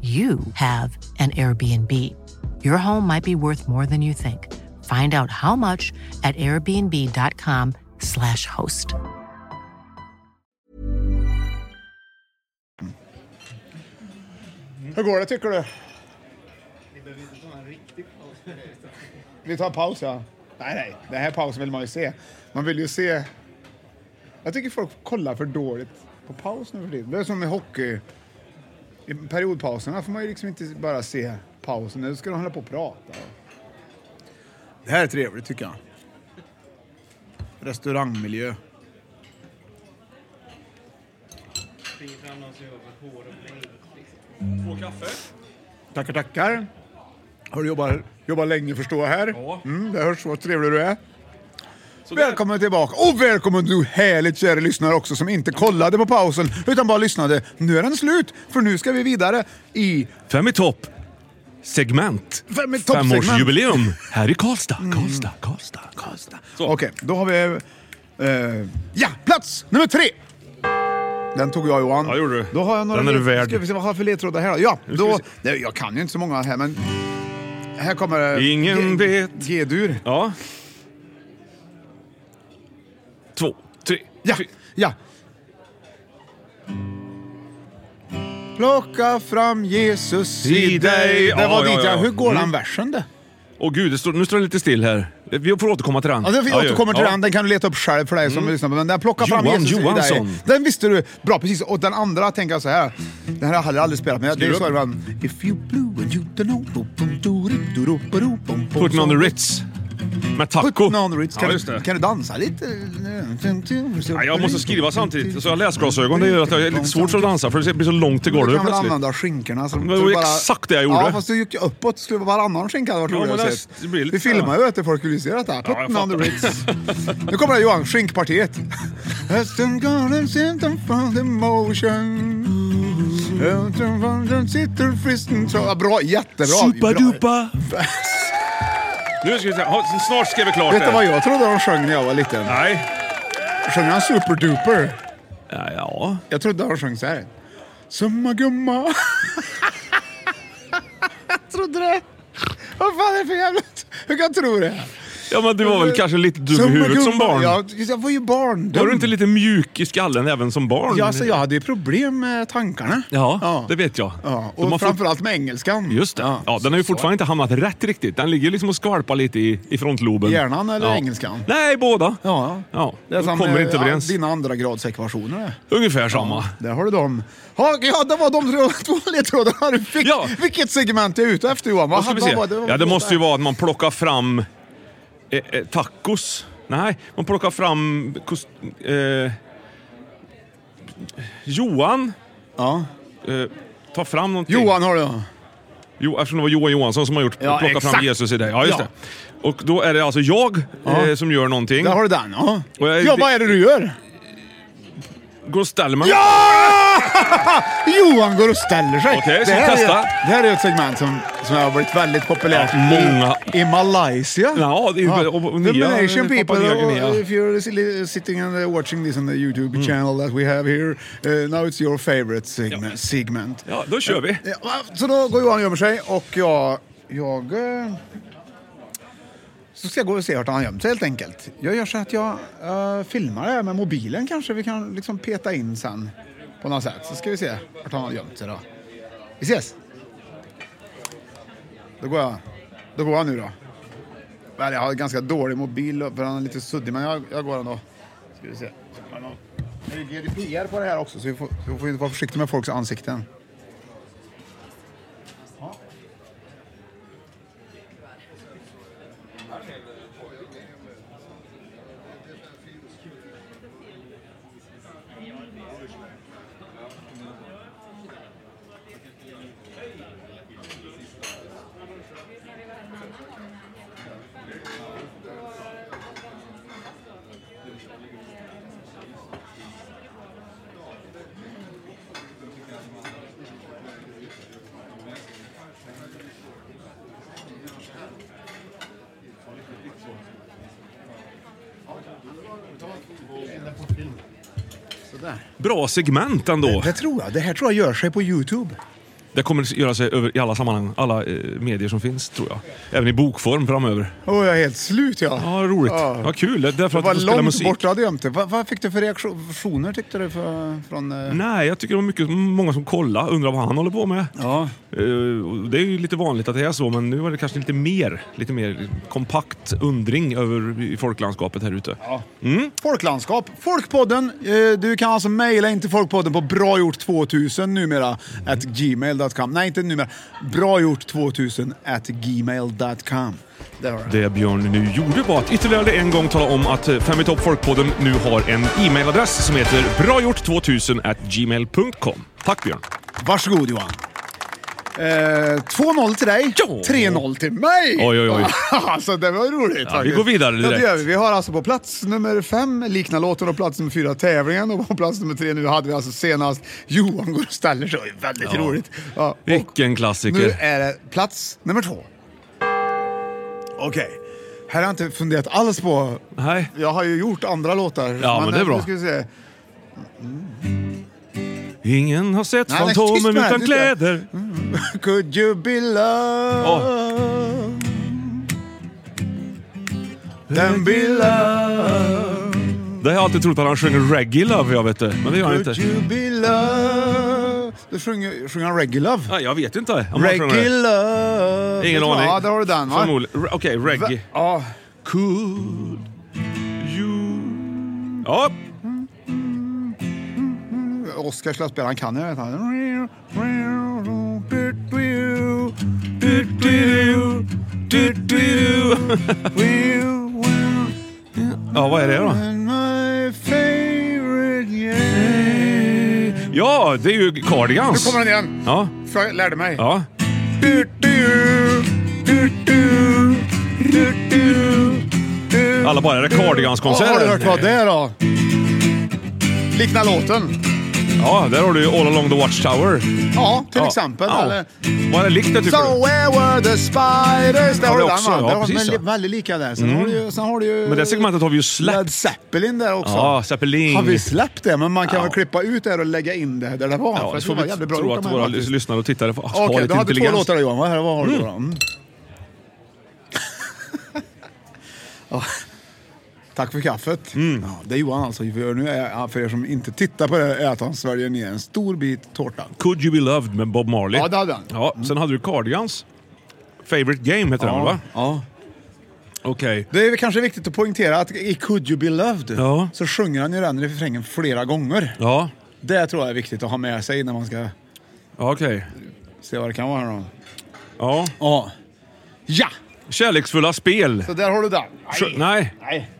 Speaker 5: you have an Airbnb. Your home might be worth more than you think. Find out how much at airbnb.com/slash host.
Speaker 1: Hur går det tycker du? Vi tar paus, ja. Nej, nej. Den här pausen vill man ju se. Man vill ju se... Jag tycker folk kollar för dåligt på paus nu för tiden. Det är som med hockey. I periodpauserna får man ju liksom inte bara se pausen. Nu ska de hålla på och prata. Det här är trevligt, tycker jag. Restaurangmiljö.
Speaker 2: Två kaffe?
Speaker 1: Tackar, tackar. Har du jobbat, jobbat länge för att stå här?
Speaker 2: Ja.
Speaker 1: Mm, det hörs vad trevlig du är.
Speaker 2: Så där.
Speaker 1: Välkommen tillbaka och välkommen du härligt kära lyssnare också som inte kollade på pausen utan bara lyssnade. Nu är den slut för nu ska vi vidare i
Speaker 2: Fem i topp. Segment.
Speaker 1: Fem i topp-segment. Mm.
Speaker 2: Femårsjubileum. Här i Karlstad. Karlstad, Karlstad, Karlstad. Så.
Speaker 1: Okej, då har vi... eh, ja, plats nummer tre! Den tog jag Johan.
Speaker 2: Ja, det gjorde du.
Speaker 1: Då har jag några
Speaker 2: Den är du
Speaker 1: led-
Speaker 2: värd.
Speaker 1: Ska vi se, vad har jag för ledtrådar här då? Ja,
Speaker 2: ska
Speaker 1: då,
Speaker 2: vi
Speaker 1: nej, jag kan ju inte så många här men... Här kommer... eh,
Speaker 2: Ingen
Speaker 1: G-
Speaker 2: vet.
Speaker 1: G-dur.
Speaker 2: Ja. Två, tre.
Speaker 1: Ja, ja. Plocka fram Jesus i
Speaker 2: I dig.
Speaker 1: dig. Det
Speaker 2: Ja,
Speaker 1: var
Speaker 2: ja,
Speaker 1: dit jag...
Speaker 2: ja.
Speaker 1: Hur går
Speaker 2: Mm.
Speaker 1: den versen det?
Speaker 2: Åh gud, det står, nu står det lite still här. Vi får återkomma till den.
Speaker 1: Ja, vi
Speaker 2: Ja, ju.
Speaker 1: återkommer till
Speaker 2: Ja.
Speaker 1: den, den kan du leta upp själv för dig som lyssnar. Men den plockar fram
Speaker 2: Johan
Speaker 1: Jesus i
Speaker 2: Johansson.
Speaker 1: dig. Den visste du. Bra, precis. Och den andra tänker jag så här. Den här hade jag aldrig spelat, men det är
Speaker 2: Skriv
Speaker 1: så
Speaker 2: upp.
Speaker 1: ibland. If you blue and you don't know... bo- bo- do- ri- do- ro- bo- ro- bom- bom-
Speaker 2: Putting on
Speaker 1: bom-
Speaker 2: the Ritz. Med taco.
Speaker 1: Putting on the Ritz. Kan,
Speaker 2: Ja, just
Speaker 1: du,
Speaker 2: det.
Speaker 1: kan du dansa lite?
Speaker 2: Ja, jag måste skriva samtidigt, så jag har läsglasögon. Det gör att jag är lite svårt för att dansa, för det blir så långt till
Speaker 1: Du
Speaker 2: golvet
Speaker 1: kan väl
Speaker 2: plötsligt.
Speaker 1: använda skinkorna som...
Speaker 2: Det var
Speaker 1: som
Speaker 2: ju exakt det jag gjorde.
Speaker 1: Ja, fast du gick ju uppåt. Skulle vara varannan skinka hade varit
Speaker 2: Ja,
Speaker 1: roligare
Speaker 2: men
Speaker 1: att
Speaker 2: det-
Speaker 1: se.
Speaker 2: det blir lite
Speaker 1: Vi
Speaker 2: så här.
Speaker 1: filmar ju vet du, folk vill ju se detta.
Speaker 2: Ja, jag
Speaker 1: Putting on the
Speaker 2: fattar.
Speaker 1: Ritz. nu kommer det Johan, skinkpartiet. Hästen galen sitter från the motion. Hästen galen sitter fristen så- Ja, Bra, jättebra. Bra.
Speaker 2: Supa-dupa. Nu ska vi se. Ha, Snart ska vi klart
Speaker 1: Vet du
Speaker 2: det
Speaker 1: vad
Speaker 2: här.
Speaker 1: jag trodde de sjöng när jag var liten?
Speaker 2: Nej.
Speaker 1: Sjöng han superduper?
Speaker 2: Ja, ja.
Speaker 1: Jag trodde han sjöng så här. Summa gumma. jag trodde det. Vad fan är det för jävla... Hur kan jag tro det?
Speaker 2: ja, men du var väl kanske lite dum i huvudet som barn?
Speaker 1: Ja, jag var ju barn.
Speaker 2: Var du inte lite mjuk i skallen även som barn?
Speaker 1: Ja, alltså, jag hade ju problem med tankarna.
Speaker 2: Ja, det vet jag.
Speaker 1: Ja,
Speaker 2: De har
Speaker 1: och
Speaker 2: fått-
Speaker 1: framförallt med engelskan.
Speaker 2: Just det. Ja, den har ju fortfarande inte hamnat rätt riktigt. Den ligger liksom och skvalpar lite i, i frontloben.
Speaker 1: Hjärnan eller
Speaker 2: ja.
Speaker 1: engelskan?
Speaker 2: Nej, båda.
Speaker 1: Ja,
Speaker 2: ja.
Speaker 1: Det är
Speaker 2: De
Speaker 1: som,
Speaker 2: kommer inte
Speaker 1: eh,
Speaker 2: överens.
Speaker 1: Dina andra gradsekvationer.
Speaker 2: Ungefär samma.
Speaker 1: Där har du dem. Ja, ja, det var de tre- två ledtrådarna du fick.
Speaker 2: Ja.
Speaker 1: Vilket segment är jag ute efter Johan?
Speaker 2: Vad ska vi
Speaker 1: Vad
Speaker 2: se?
Speaker 1: var var-
Speaker 2: Ja, det måste ju vara att man plockar fram eh, eh, tacos. Nej, man plockar fram kost, eh, Johan.
Speaker 1: Ja.
Speaker 2: Eh, tar fram någonting.
Speaker 1: Johan har
Speaker 2: Mm.
Speaker 1: du.
Speaker 2: Jo, eftersom det var Johan Johansson som har gjort
Speaker 1: Ja,
Speaker 2: Plocka
Speaker 1: exakt.
Speaker 2: fram Jesus i dig. Ja, just
Speaker 1: Ja.
Speaker 2: det. Och då är det alltså jag
Speaker 1: Ja.
Speaker 2: eh, som gör någonting.
Speaker 1: Där har du den. Ja,
Speaker 2: Och jag-
Speaker 1: ja vad är det du gör?
Speaker 2: Går och ställer mig.
Speaker 1: Ja! Johan går och ställer sig.
Speaker 2: Okej,
Speaker 1: det,
Speaker 2: ska vi
Speaker 1: här
Speaker 2: testa?
Speaker 1: Är, det här är ett segment som, som har blivit väldigt populärt
Speaker 2: Ja, många-
Speaker 1: i, i Malaysian.
Speaker 2: Ja, det är ju- och- och
Speaker 1: the
Speaker 2: nya-
Speaker 1: Malaysian
Speaker 2: Papua
Speaker 1: people,
Speaker 2: Nya
Speaker 1: uh,
Speaker 2: Guinea. Mm.
Speaker 1: if you're si- sitting and uh, watching this on the YouTube channel that we have here, uh, now it's your favorite segment. segment.
Speaker 2: Ja, då kör vi.
Speaker 1: Ja, va? så då går Johan och gömmer sig och jag... jag eh, så ska jag gå och se vart han har gömt sig helt enkelt. Jag gör så att jag eh, filmar det här med mobilen kanske. Vi kan liksom peta in sen på något sätt. Så ska vi se vart han har gömt sig då. Vi ses! Då går jag. Då går jag nu då. Väl, jag har ganska dålig mobil och- för han är lite suddig men jag, jag går ändå. Ska vi se. Det är GDPR på det här också så vi får, vi får ju vara försiktiga med folks ansikten.
Speaker 2: Bra segment ändå.
Speaker 1: Det tror jag. Det här tror jag gör sig på Youtube.
Speaker 2: Det kommer göra sig över i alla sammanhang, alla eh, medier som finns tror jag. Även i bokform framöver.
Speaker 1: Åh, jag är helt slut jag.
Speaker 2: Ja, roligt.
Speaker 1: Ja.
Speaker 2: Vad kul. Det är därför
Speaker 1: Det
Speaker 2: att du
Speaker 1: var
Speaker 2: får spela
Speaker 1: långt
Speaker 2: musik.
Speaker 1: bort du hade gömt det. Vad, vad fick du för reaktioner tyckte du för, från... eh,
Speaker 2: Nej, jag tycker det var mycket, många som kollade, undrar vad han håller på med.
Speaker 1: Ja.
Speaker 2: Eh, och Det är ju lite vanligt att det är så, men nu var det kanske lite mer, lite mer kompakt undring över i folklandskapet här ute.
Speaker 1: Folklandskap. Folkpodden. eh, Du kan alltså mejla in till Folkpodden på bragjort2000 numera. At gmail.com. Nej, inte numera. Bragjort2000 at gmail.com. Där har du det.
Speaker 2: Det Björn nu gjorde var att ytterligare en gång tala om att Fem i topp folkpodden nu har en e-mailadress som heter bragjort2000gmail.com. Tack Björn!
Speaker 1: Varsågod Johan. Eh, 2-0 till dig,
Speaker 2: Ja.
Speaker 1: 3-0 till mig!
Speaker 2: Oj, oj, oj.
Speaker 1: alltså, det var roligt
Speaker 2: Ja, vi
Speaker 1: faktiskt.
Speaker 2: går vidare
Speaker 1: Ja, det gör
Speaker 2: direkt.
Speaker 1: vi. vi har alltså på plats nummer fem, Likna låten, och plats nummer fyra, Tävlingen. Och på plats nummer tre nu hade vi alltså senast Johan går och ställer sig. Det är Väldigt
Speaker 2: Ja.
Speaker 1: roligt. Ja, och-
Speaker 2: Vilken
Speaker 1: Nu
Speaker 2: klassiker!
Speaker 1: är det plats nummer två. Okej. Här har jag inte funderat alls på...
Speaker 2: Nej.
Speaker 1: Jag har ju gjort andra låtar.
Speaker 2: Ja, men det är bra.
Speaker 1: Nu ska vi se.
Speaker 2: Ingen har sett
Speaker 1: Nej, nej, tyst
Speaker 2: Fantomen
Speaker 1: med
Speaker 2: utan
Speaker 1: det, tyst med det.
Speaker 2: kläder.
Speaker 1: Could you be loved? Then be loved.
Speaker 2: Det har jag alltid trott att han sjöng reggae love, jag vet det. Men det gör han inte.
Speaker 1: Could you be loved? Då sjunger, sjunger han Reggae Love.
Speaker 2: Nej, Ah, jag vet inte. om han sjunger
Speaker 1: Reggae
Speaker 2: det.
Speaker 1: Love.
Speaker 2: Ingen
Speaker 1: Ja,
Speaker 2: aning.
Speaker 1: Ja, där har du den va?
Speaker 2: Förmodligen. Re- Okej, reggae.
Speaker 1: Ja.
Speaker 2: Could you... Ja,
Speaker 1: Oskar slöspel, han kan ju det.
Speaker 2: ja vad är det då? Ja, det är ju
Speaker 1: Nu
Speaker 2: Cardigans.
Speaker 1: kommer den igen.
Speaker 2: Ja,
Speaker 1: För jag lärde mig.
Speaker 2: ja. Alla bara, är det Cardigans-konserten?
Speaker 1: Har du hört vad det är då? Likna låten.
Speaker 2: Ja, där har du ju All Along the Watchtower.
Speaker 1: Ja, till
Speaker 2: ja.
Speaker 1: exempel.
Speaker 2: Ja.
Speaker 1: Eller,
Speaker 2: Vad är det likt det tycker
Speaker 1: So
Speaker 2: du?
Speaker 1: where were the spiders?
Speaker 2: Har
Speaker 1: Där har
Speaker 2: vi
Speaker 1: du den
Speaker 2: också,
Speaker 1: va?
Speaker 2: ja,
Speaker 1: Där har-
Speaker 2: precis,
Speaker 1: men
Speaker 2: ja. Mm.
Speaker 1: li- Väldigt lika där. Sen, har, du ju, sen har du ju...
Speaker 2: Men det segmentet har vi ju släppt.
Speaker 1: Led Zeppelin där också.
Speaker 2: Ja, Zeppelin.
Speaker 1: Har vi släppt det? Men man kan
Speaker 2: Ja.
Speaker 1: väl klippa ut det här och lägga in det där det var.
Speaker 2: Ja,
Speaker 1: för
Speaker 2: det
Speaker 1: att
Speaker 2: får
Speaker 1: var
Speaker 2: vi
Speaker 1: jävligt bra
Speaker 2: tro
Speaker 1: gjort
Speaker 2: att
Speaker 1: av mig
Speaker 2: våra
Speaker 1: faktiskt.
Speaker 2: lyssnare och tittare har
Speaker 1: Okej,
Speaker 2: lite
Speaker 1: du hade två
Speaker 2: intelligens.
Speaker 1: låtar där Johan. Vad, här, vad har du då? Mm. Ja. Tack för kaffet.
Speaker 2: Mm.
Speaker 1: Ja, det Johan alltså gör nu, är, för er som inte tittar på det, är att han sväljer ner en stor bit tårta.
Speaker 2: Could You Be Loved med Bob Marley.
Speaker 1: Ja, det hade han.
Speaker 2: Ja, sen hade du Cardigans. Favorite Game heter den va?
Speaker 1: Ja.
Speaker 2: Okej.
Speaker 1: Det är kanske viktigt att poängtera att i Could You Be Loved
Speaker 2: Ja.
Speaker 1: så sjunger han ju den refrängen flera gånger.
Speaker 2: Ja,
Speaker 1: Det tror jag är viktigt att ha med sig när man ska
Speaker 2: ja, okej.
Speaker 1: se vad det kan vara. här då.
Speaker 2: Ja.
Speaker 1: Ja. Ja!
Speaker 2: Kärleksfulla spel.
Speaker 1: Så där har du den.
Speaker 2: Sjö- Nej.
Speaker 1: Nej.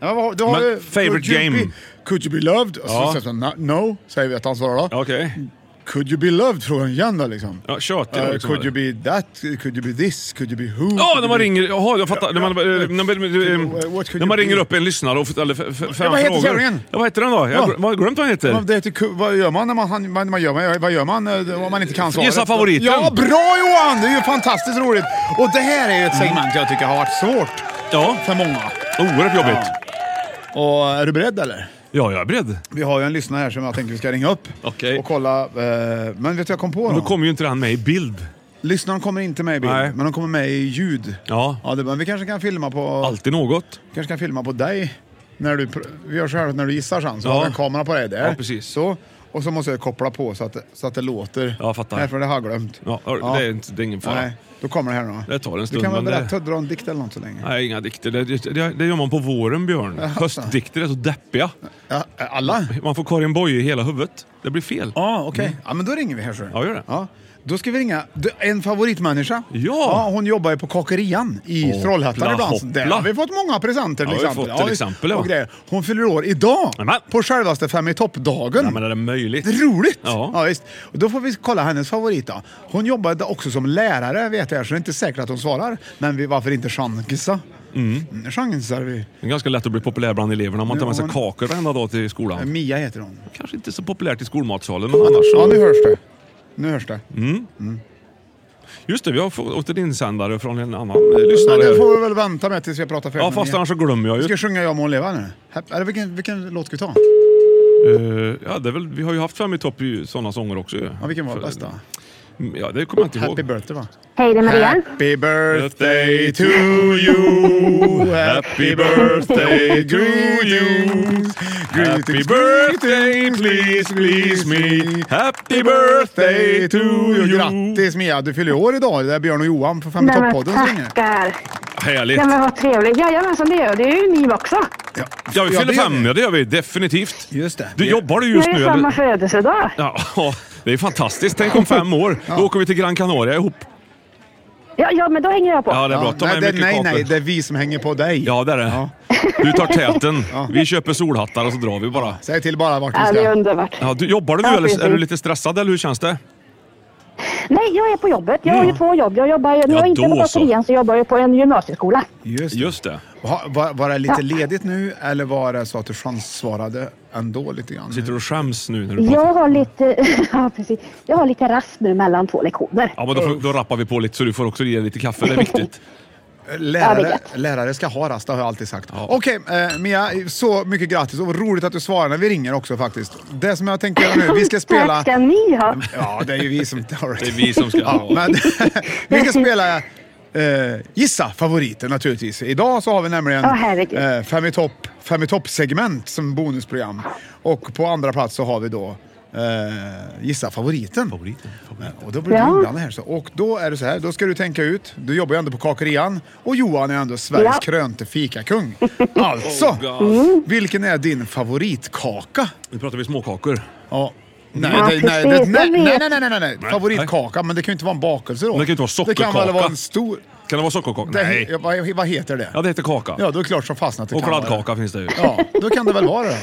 Speaker 1: Ja, men vad har- du har
Speaker 2: Men
Speaker 1: ju-
Speaker 2: favorite
Speaker 1: could you
Speaker 2: game.
Speaker 1: Be, could you be loved? Och
Speaker 2: Ja.
Speaker 1: så säger han na- no, säger vi att han svarar då.
Speaker 2: Okej.
Speaker 1: Could you be loved? Frågar han igen då liksom.
Speaker 2: Ja, tjatig
Speaker 1: Eh,
Speaker 2: då, liksom.
Speaker 1: could you be that? Could you be this? Could you be who?
Speaker 2: Ja,
Speaker 1: Could
Speaker 2: när
Speaker 1: you
Speaker 2: man
Speaker 1: be-
Speaker 2: ringer... Jaha, jag fattar. När man, eh, när man,
Speaker 1: What could
Speaker 2: eh,
Speaker 1: you
Speaker 2: när man
Speaker 1: be?
Speaker 2: ringer upp en lyssnare och ställer f- f- fem frågor.
Speaker 1: vad heter kärringen?
Speaker 2: Ja, vad heter den då? Jag
Speaker 1: Ja.
Speaker 2: har gl- jag har glömt vad han
Speaker 1: Vad,
Speaker 2: heter.
Speaker 1: det heter, ku- vad gör man när man, han- man, man, gör, man vad gör man eh, om man inte kan svaret?
Speaker 2: Gissa favoriten.
Speaker 1: Ja, bra Johan! Det är ju fantastiskt roligt. Och det här är ju ett segment jag tycker har varit svårt
Speaker 2: Ja.
Speaker 1: för många.
Speaker 2: Oerhört jobbigt.
Speaker 1: Och är du beredd eller?
Speaker 2: Ja, jag är beredd.
Speaker 1: Vi har ju en lyssnare här som jag tänker vi ska ringa upp
Speaker 2: Okej.
Speaker 1: och kolla. eh, men vet du jag kom på
Speaker 2: Nu
Speaker 1: då?
Speaker 2: kommer ju inte han med i bild.
Speaker 1: Lyssnaren kommer inte med i bild,
Speaker 2: Nej.
Speaker 1: men de kommer med i ljud.
Speaker 2: Ja.
Speaker 1: ja det, men vi kanske kan filma på,
Speaker 2: Alltid något.
Speaker 1: kanske kan filma på dig. När du, pr- vi gör så här att när du gissar sen, så
Speaker 2: Ja.
Speaker 1: har vi en kamera på dig där.
Speaker 2: Ja, precis.
Speaker 1: Så, och så måste jag koppla på så att, det- så att det låter.
Speaker 2: Ja, fattar.
Speaker 1: Nej, för det har jag glömt.
Speaker 2: Ja, Det, är inte, det är ingen fara.
Speaker 1: Nej, då kommer det här nu.
Speaker 2: Det tar en
Speaker 1: Du
Speaker 2: stund,
Speaker 1: kan väl
Speaker 2: men det-
Speaker 1: berätta, dra en dikt eller något så länge.
Speaker 2: Nej, inga dikter. Det, det, det gör man på våren, Björn. Höstdikter är så deppiga.
Speaker 1: Ja, eh, alla?
Speaker 2: Man får Karin Boye i hela huvudet. Det blir fel. Mm.
Speaker 1: Ja, okej. Ja, men då ringer vi här så.
Speaker 2: Ja, gör det.
Speaker 1: Ja. Då ska vi ringa Du, en favoritmänniska. hon jobbar ju på Kakerian i
Speaker 2: Hoppla,
Speaker 1: Trollhättan ibland.
Speaker 2: hoppla.
Speaker 1: Där har vi fått många presenter
Speaker 2: Ja,
Speaker 1: till
Speaker 2: vi har
Speaker 1: exempel.
Speaker 2: fått till exempel, ja.
Speaker 1: och grejer. Hon fyller år idag.
Speaker 2: Nämen.
Speaker 1: På självaste Fem i topp-dagen.
Speaker 2: Nej, men är det möjligt?
Speaker 1: Det är roligt!
Speaker 2: Ja.
Speaker 1: visst. Och då får vi kolla hennes favorit då. Hon jobbade också som lärare vet jag, så det är inte säkert att hon svarar. Men vi, varför inte chansa? Mm. Chansar vi.
Speaker 2: Det är ganska lätt att bli populär bland eleverna om man tar med sig
Speaker 1: Ja.
Speaker 2: kakor varenda dag till skolan.
Speaker 1: Mia heter hon.
Speaker 2: Kanske inte så populärt i skolmatsalen, men annars
Speaker 1: Ja,
Speaker 2: så. Mm,
Speaker 1: nu hörs det. Nu hörs det.
Speaker 2: Just det, vi har fått åt en insändare från en annan eh, lyssnare.
Speaker 1: Men det
Speaker 2: här.
Speaker 1: får vi väl vänta med tills vi har pratat färdigt
Speaker 2: Ja,
Speaker 1: med
Speaker 2: fast
Speaker 1: Mia.
Speaker 2: annars så glömmer jag
Speaker 1: Vi
Speaker 2: ju.
Speaker 1: ska sjunga Jag må hon leva nu. Här- Eller vilken, vilken låt ska vi ta?
Speaker 2: Eh, ja, det är väl, vi har ju haft fem i topp i sådana sånger också ju.
Speaker 1: Ja, vilken var
Speaker 2: För- Mm,
Speaker 1: bäst då?
Speaker 2: Ja, det kommer jag inte
Speaker 1: Happy
Speaker 2: ihåg.
Speaker 1: birthday va?
Speaker 6: Hej, det är Maria.
Speaker 1: Happy birthday
Speaker 2: Birthday
Speaker 1: to
Speaker 2: to
Speaker 1: you.
Speaker 2: Happy birthday to you. Happy birthday, please, please me. Happy birthday to you.
Speaker 1: Grattis Mia, du fyller år idag. Det är Björn och Johan från Fem i
Speaker 6: Nej, men
Speaker 1: topp-podden som ringer.
Speaker 6: tackar.
Speaker 2: Härligt.
Speaker 6: Ja, men vad trevligt. Jajamensan, det gör jag. Det är ju ni också.
Speaker 2: Ja, vi
Speaker 1: Ja,
Speaker 2: fyller
Speaker 1: det gör
Speaker 2: fem.
Speaker 1: vi.
Speaker 2: Ja, det gör vi definitivt.
Speaker 1: Just det.
Speaker 2: Du jobbar du
Speaker 6: Det
Speaker 2: just
Speaker 6: är
Speaker 2: nu?
Speaker 6: ju samma
Speaker 2: Eller?
Speaker 6: födelsedag.
Speaker 2: Ja, ja, det är fantastiskt. Tänk om fem år. Då åker vi till Gran Canaria ihop.
Speaker 6: Ja, ja, men då hänger jag på.
Speaker 2: Ja, det är bra. Ta
Speaker 1: nej,
Speaker 2: med
Speaker 1: det,
Speaker 2: mycket
Speaker 1: nej, nej,
Speaker 2: kakor.
Speaker 1: det är vi som hänger på dig.
Speaker 2: Ja, det är det. Du tar täten. Vi köper solhattar och så drar vi bara.
Speaker 1: Säg till bara vart vi
Speaker 6: Ja, det är
Speaker 1: ska.
Speaker 6: underbart.
Speaker 2: Ja, du, jobbar du nu
Speaker 6: Ja,
Speaker 2: eller är du
Speaker 6: precis.
Speaker 2: lite stressad eller hur känns det?
Speaker 6: Nej, jag är på jobbet. Jag har ju två jobb. Jag jobbar, när
Speaker 2: Ja,
Speaker 6: jag inte är på
Speaker 2: då så.
Speaker 6: batterian så jobbar jag på en gymnasieskola.
Speaker 1: Just det.
Speaker 2: Just det.
Speaker 1: Ha, var, var det lite ledigt nu eller var det så att du chanssvarade ändå lite grann?
Speaker 2: Sitter du och skäms nu när du pratar?
Speaker 6: Jag har lite, ja, precis. Jag har lite rast nu mellan två lektioner.
Speaker 2: Ja, men då, får- då rappar vi på lite så du får också ge lite kaffe. Det är viktigt.
Speaker 6: Ja, det är
Speaker 1: Lärare,
Speaker 6: gött.
Speaker 1: lärare ska ha rast, det har jag alltid sagt. Okej, eh, Mia, så mycket grattis och roligt att du svarar när vi ringer också faktiskt. Det som jag tänker göra nu, vi ska spela...
Speaker 6: Tack ska ni ha.
Speaker 1: Ja, det är ju vi som... All right.
Speaker 2: Det är vi som ska ha.
Speaker 1: Men vi ska spela eh, Gissa favoriter naturligtvis. Idag så har vi nämligen
Speaker 6: Åh, herregud.
Speaker 1: eh, Fem i topp fem i topp-segment som bonusprogram. Och på andra plats så har vi då eh, Gissa favoriten. Eh, Och då blir det
Speaker 6: Ja.
Speaker 1: inblandad här. Så. Och då är det så här, då ska du tänka ut. Du jobbar ju ändå på kakerian och Johan är ändå Sveriges
Speaker 6: Ja. Mm.
Speaker 1: krönte fikakung. Alltså,
Speaker 2: Oh,
Speaker 1: vilken är din favoritkaka?
Speaker 2: Nu pratar vi småkakor.
Speaker 1: Ja. Nej,
Speaker 6: Ja,
Speaker 1: det, nej, det,
Speaker 6: precis,
Speaker 1: nej,
Speaker 6: jag vet.
Speaker 1: nej, nej, nej, nej, nej. Favoritkaka, men det kan ju inte vara en bakelse då.
Speaker 2: Men det kan ju inte vara
Speaker 1: Det kan väl
Speaker 2: sockerkaka.
Speaker 1: vara en stor...
Speaker 2: Kan det vara sockerkaka?
Speaker 1: Det,
Speaker 2: Nej.
Speaker 1: he- vad, vad heter det?
Speaker 2: Ja, det heter kaka.
Speaker 1: Ja, då är det klart som fastnat att det
Speaker 2: och
Speaker 1: kan vara
Speaker 2: kladdkaka
Speaker 1: det.
Speaker 2: finns det ju. Ja,
Speaker 1: Ja, då kan det väl vara det.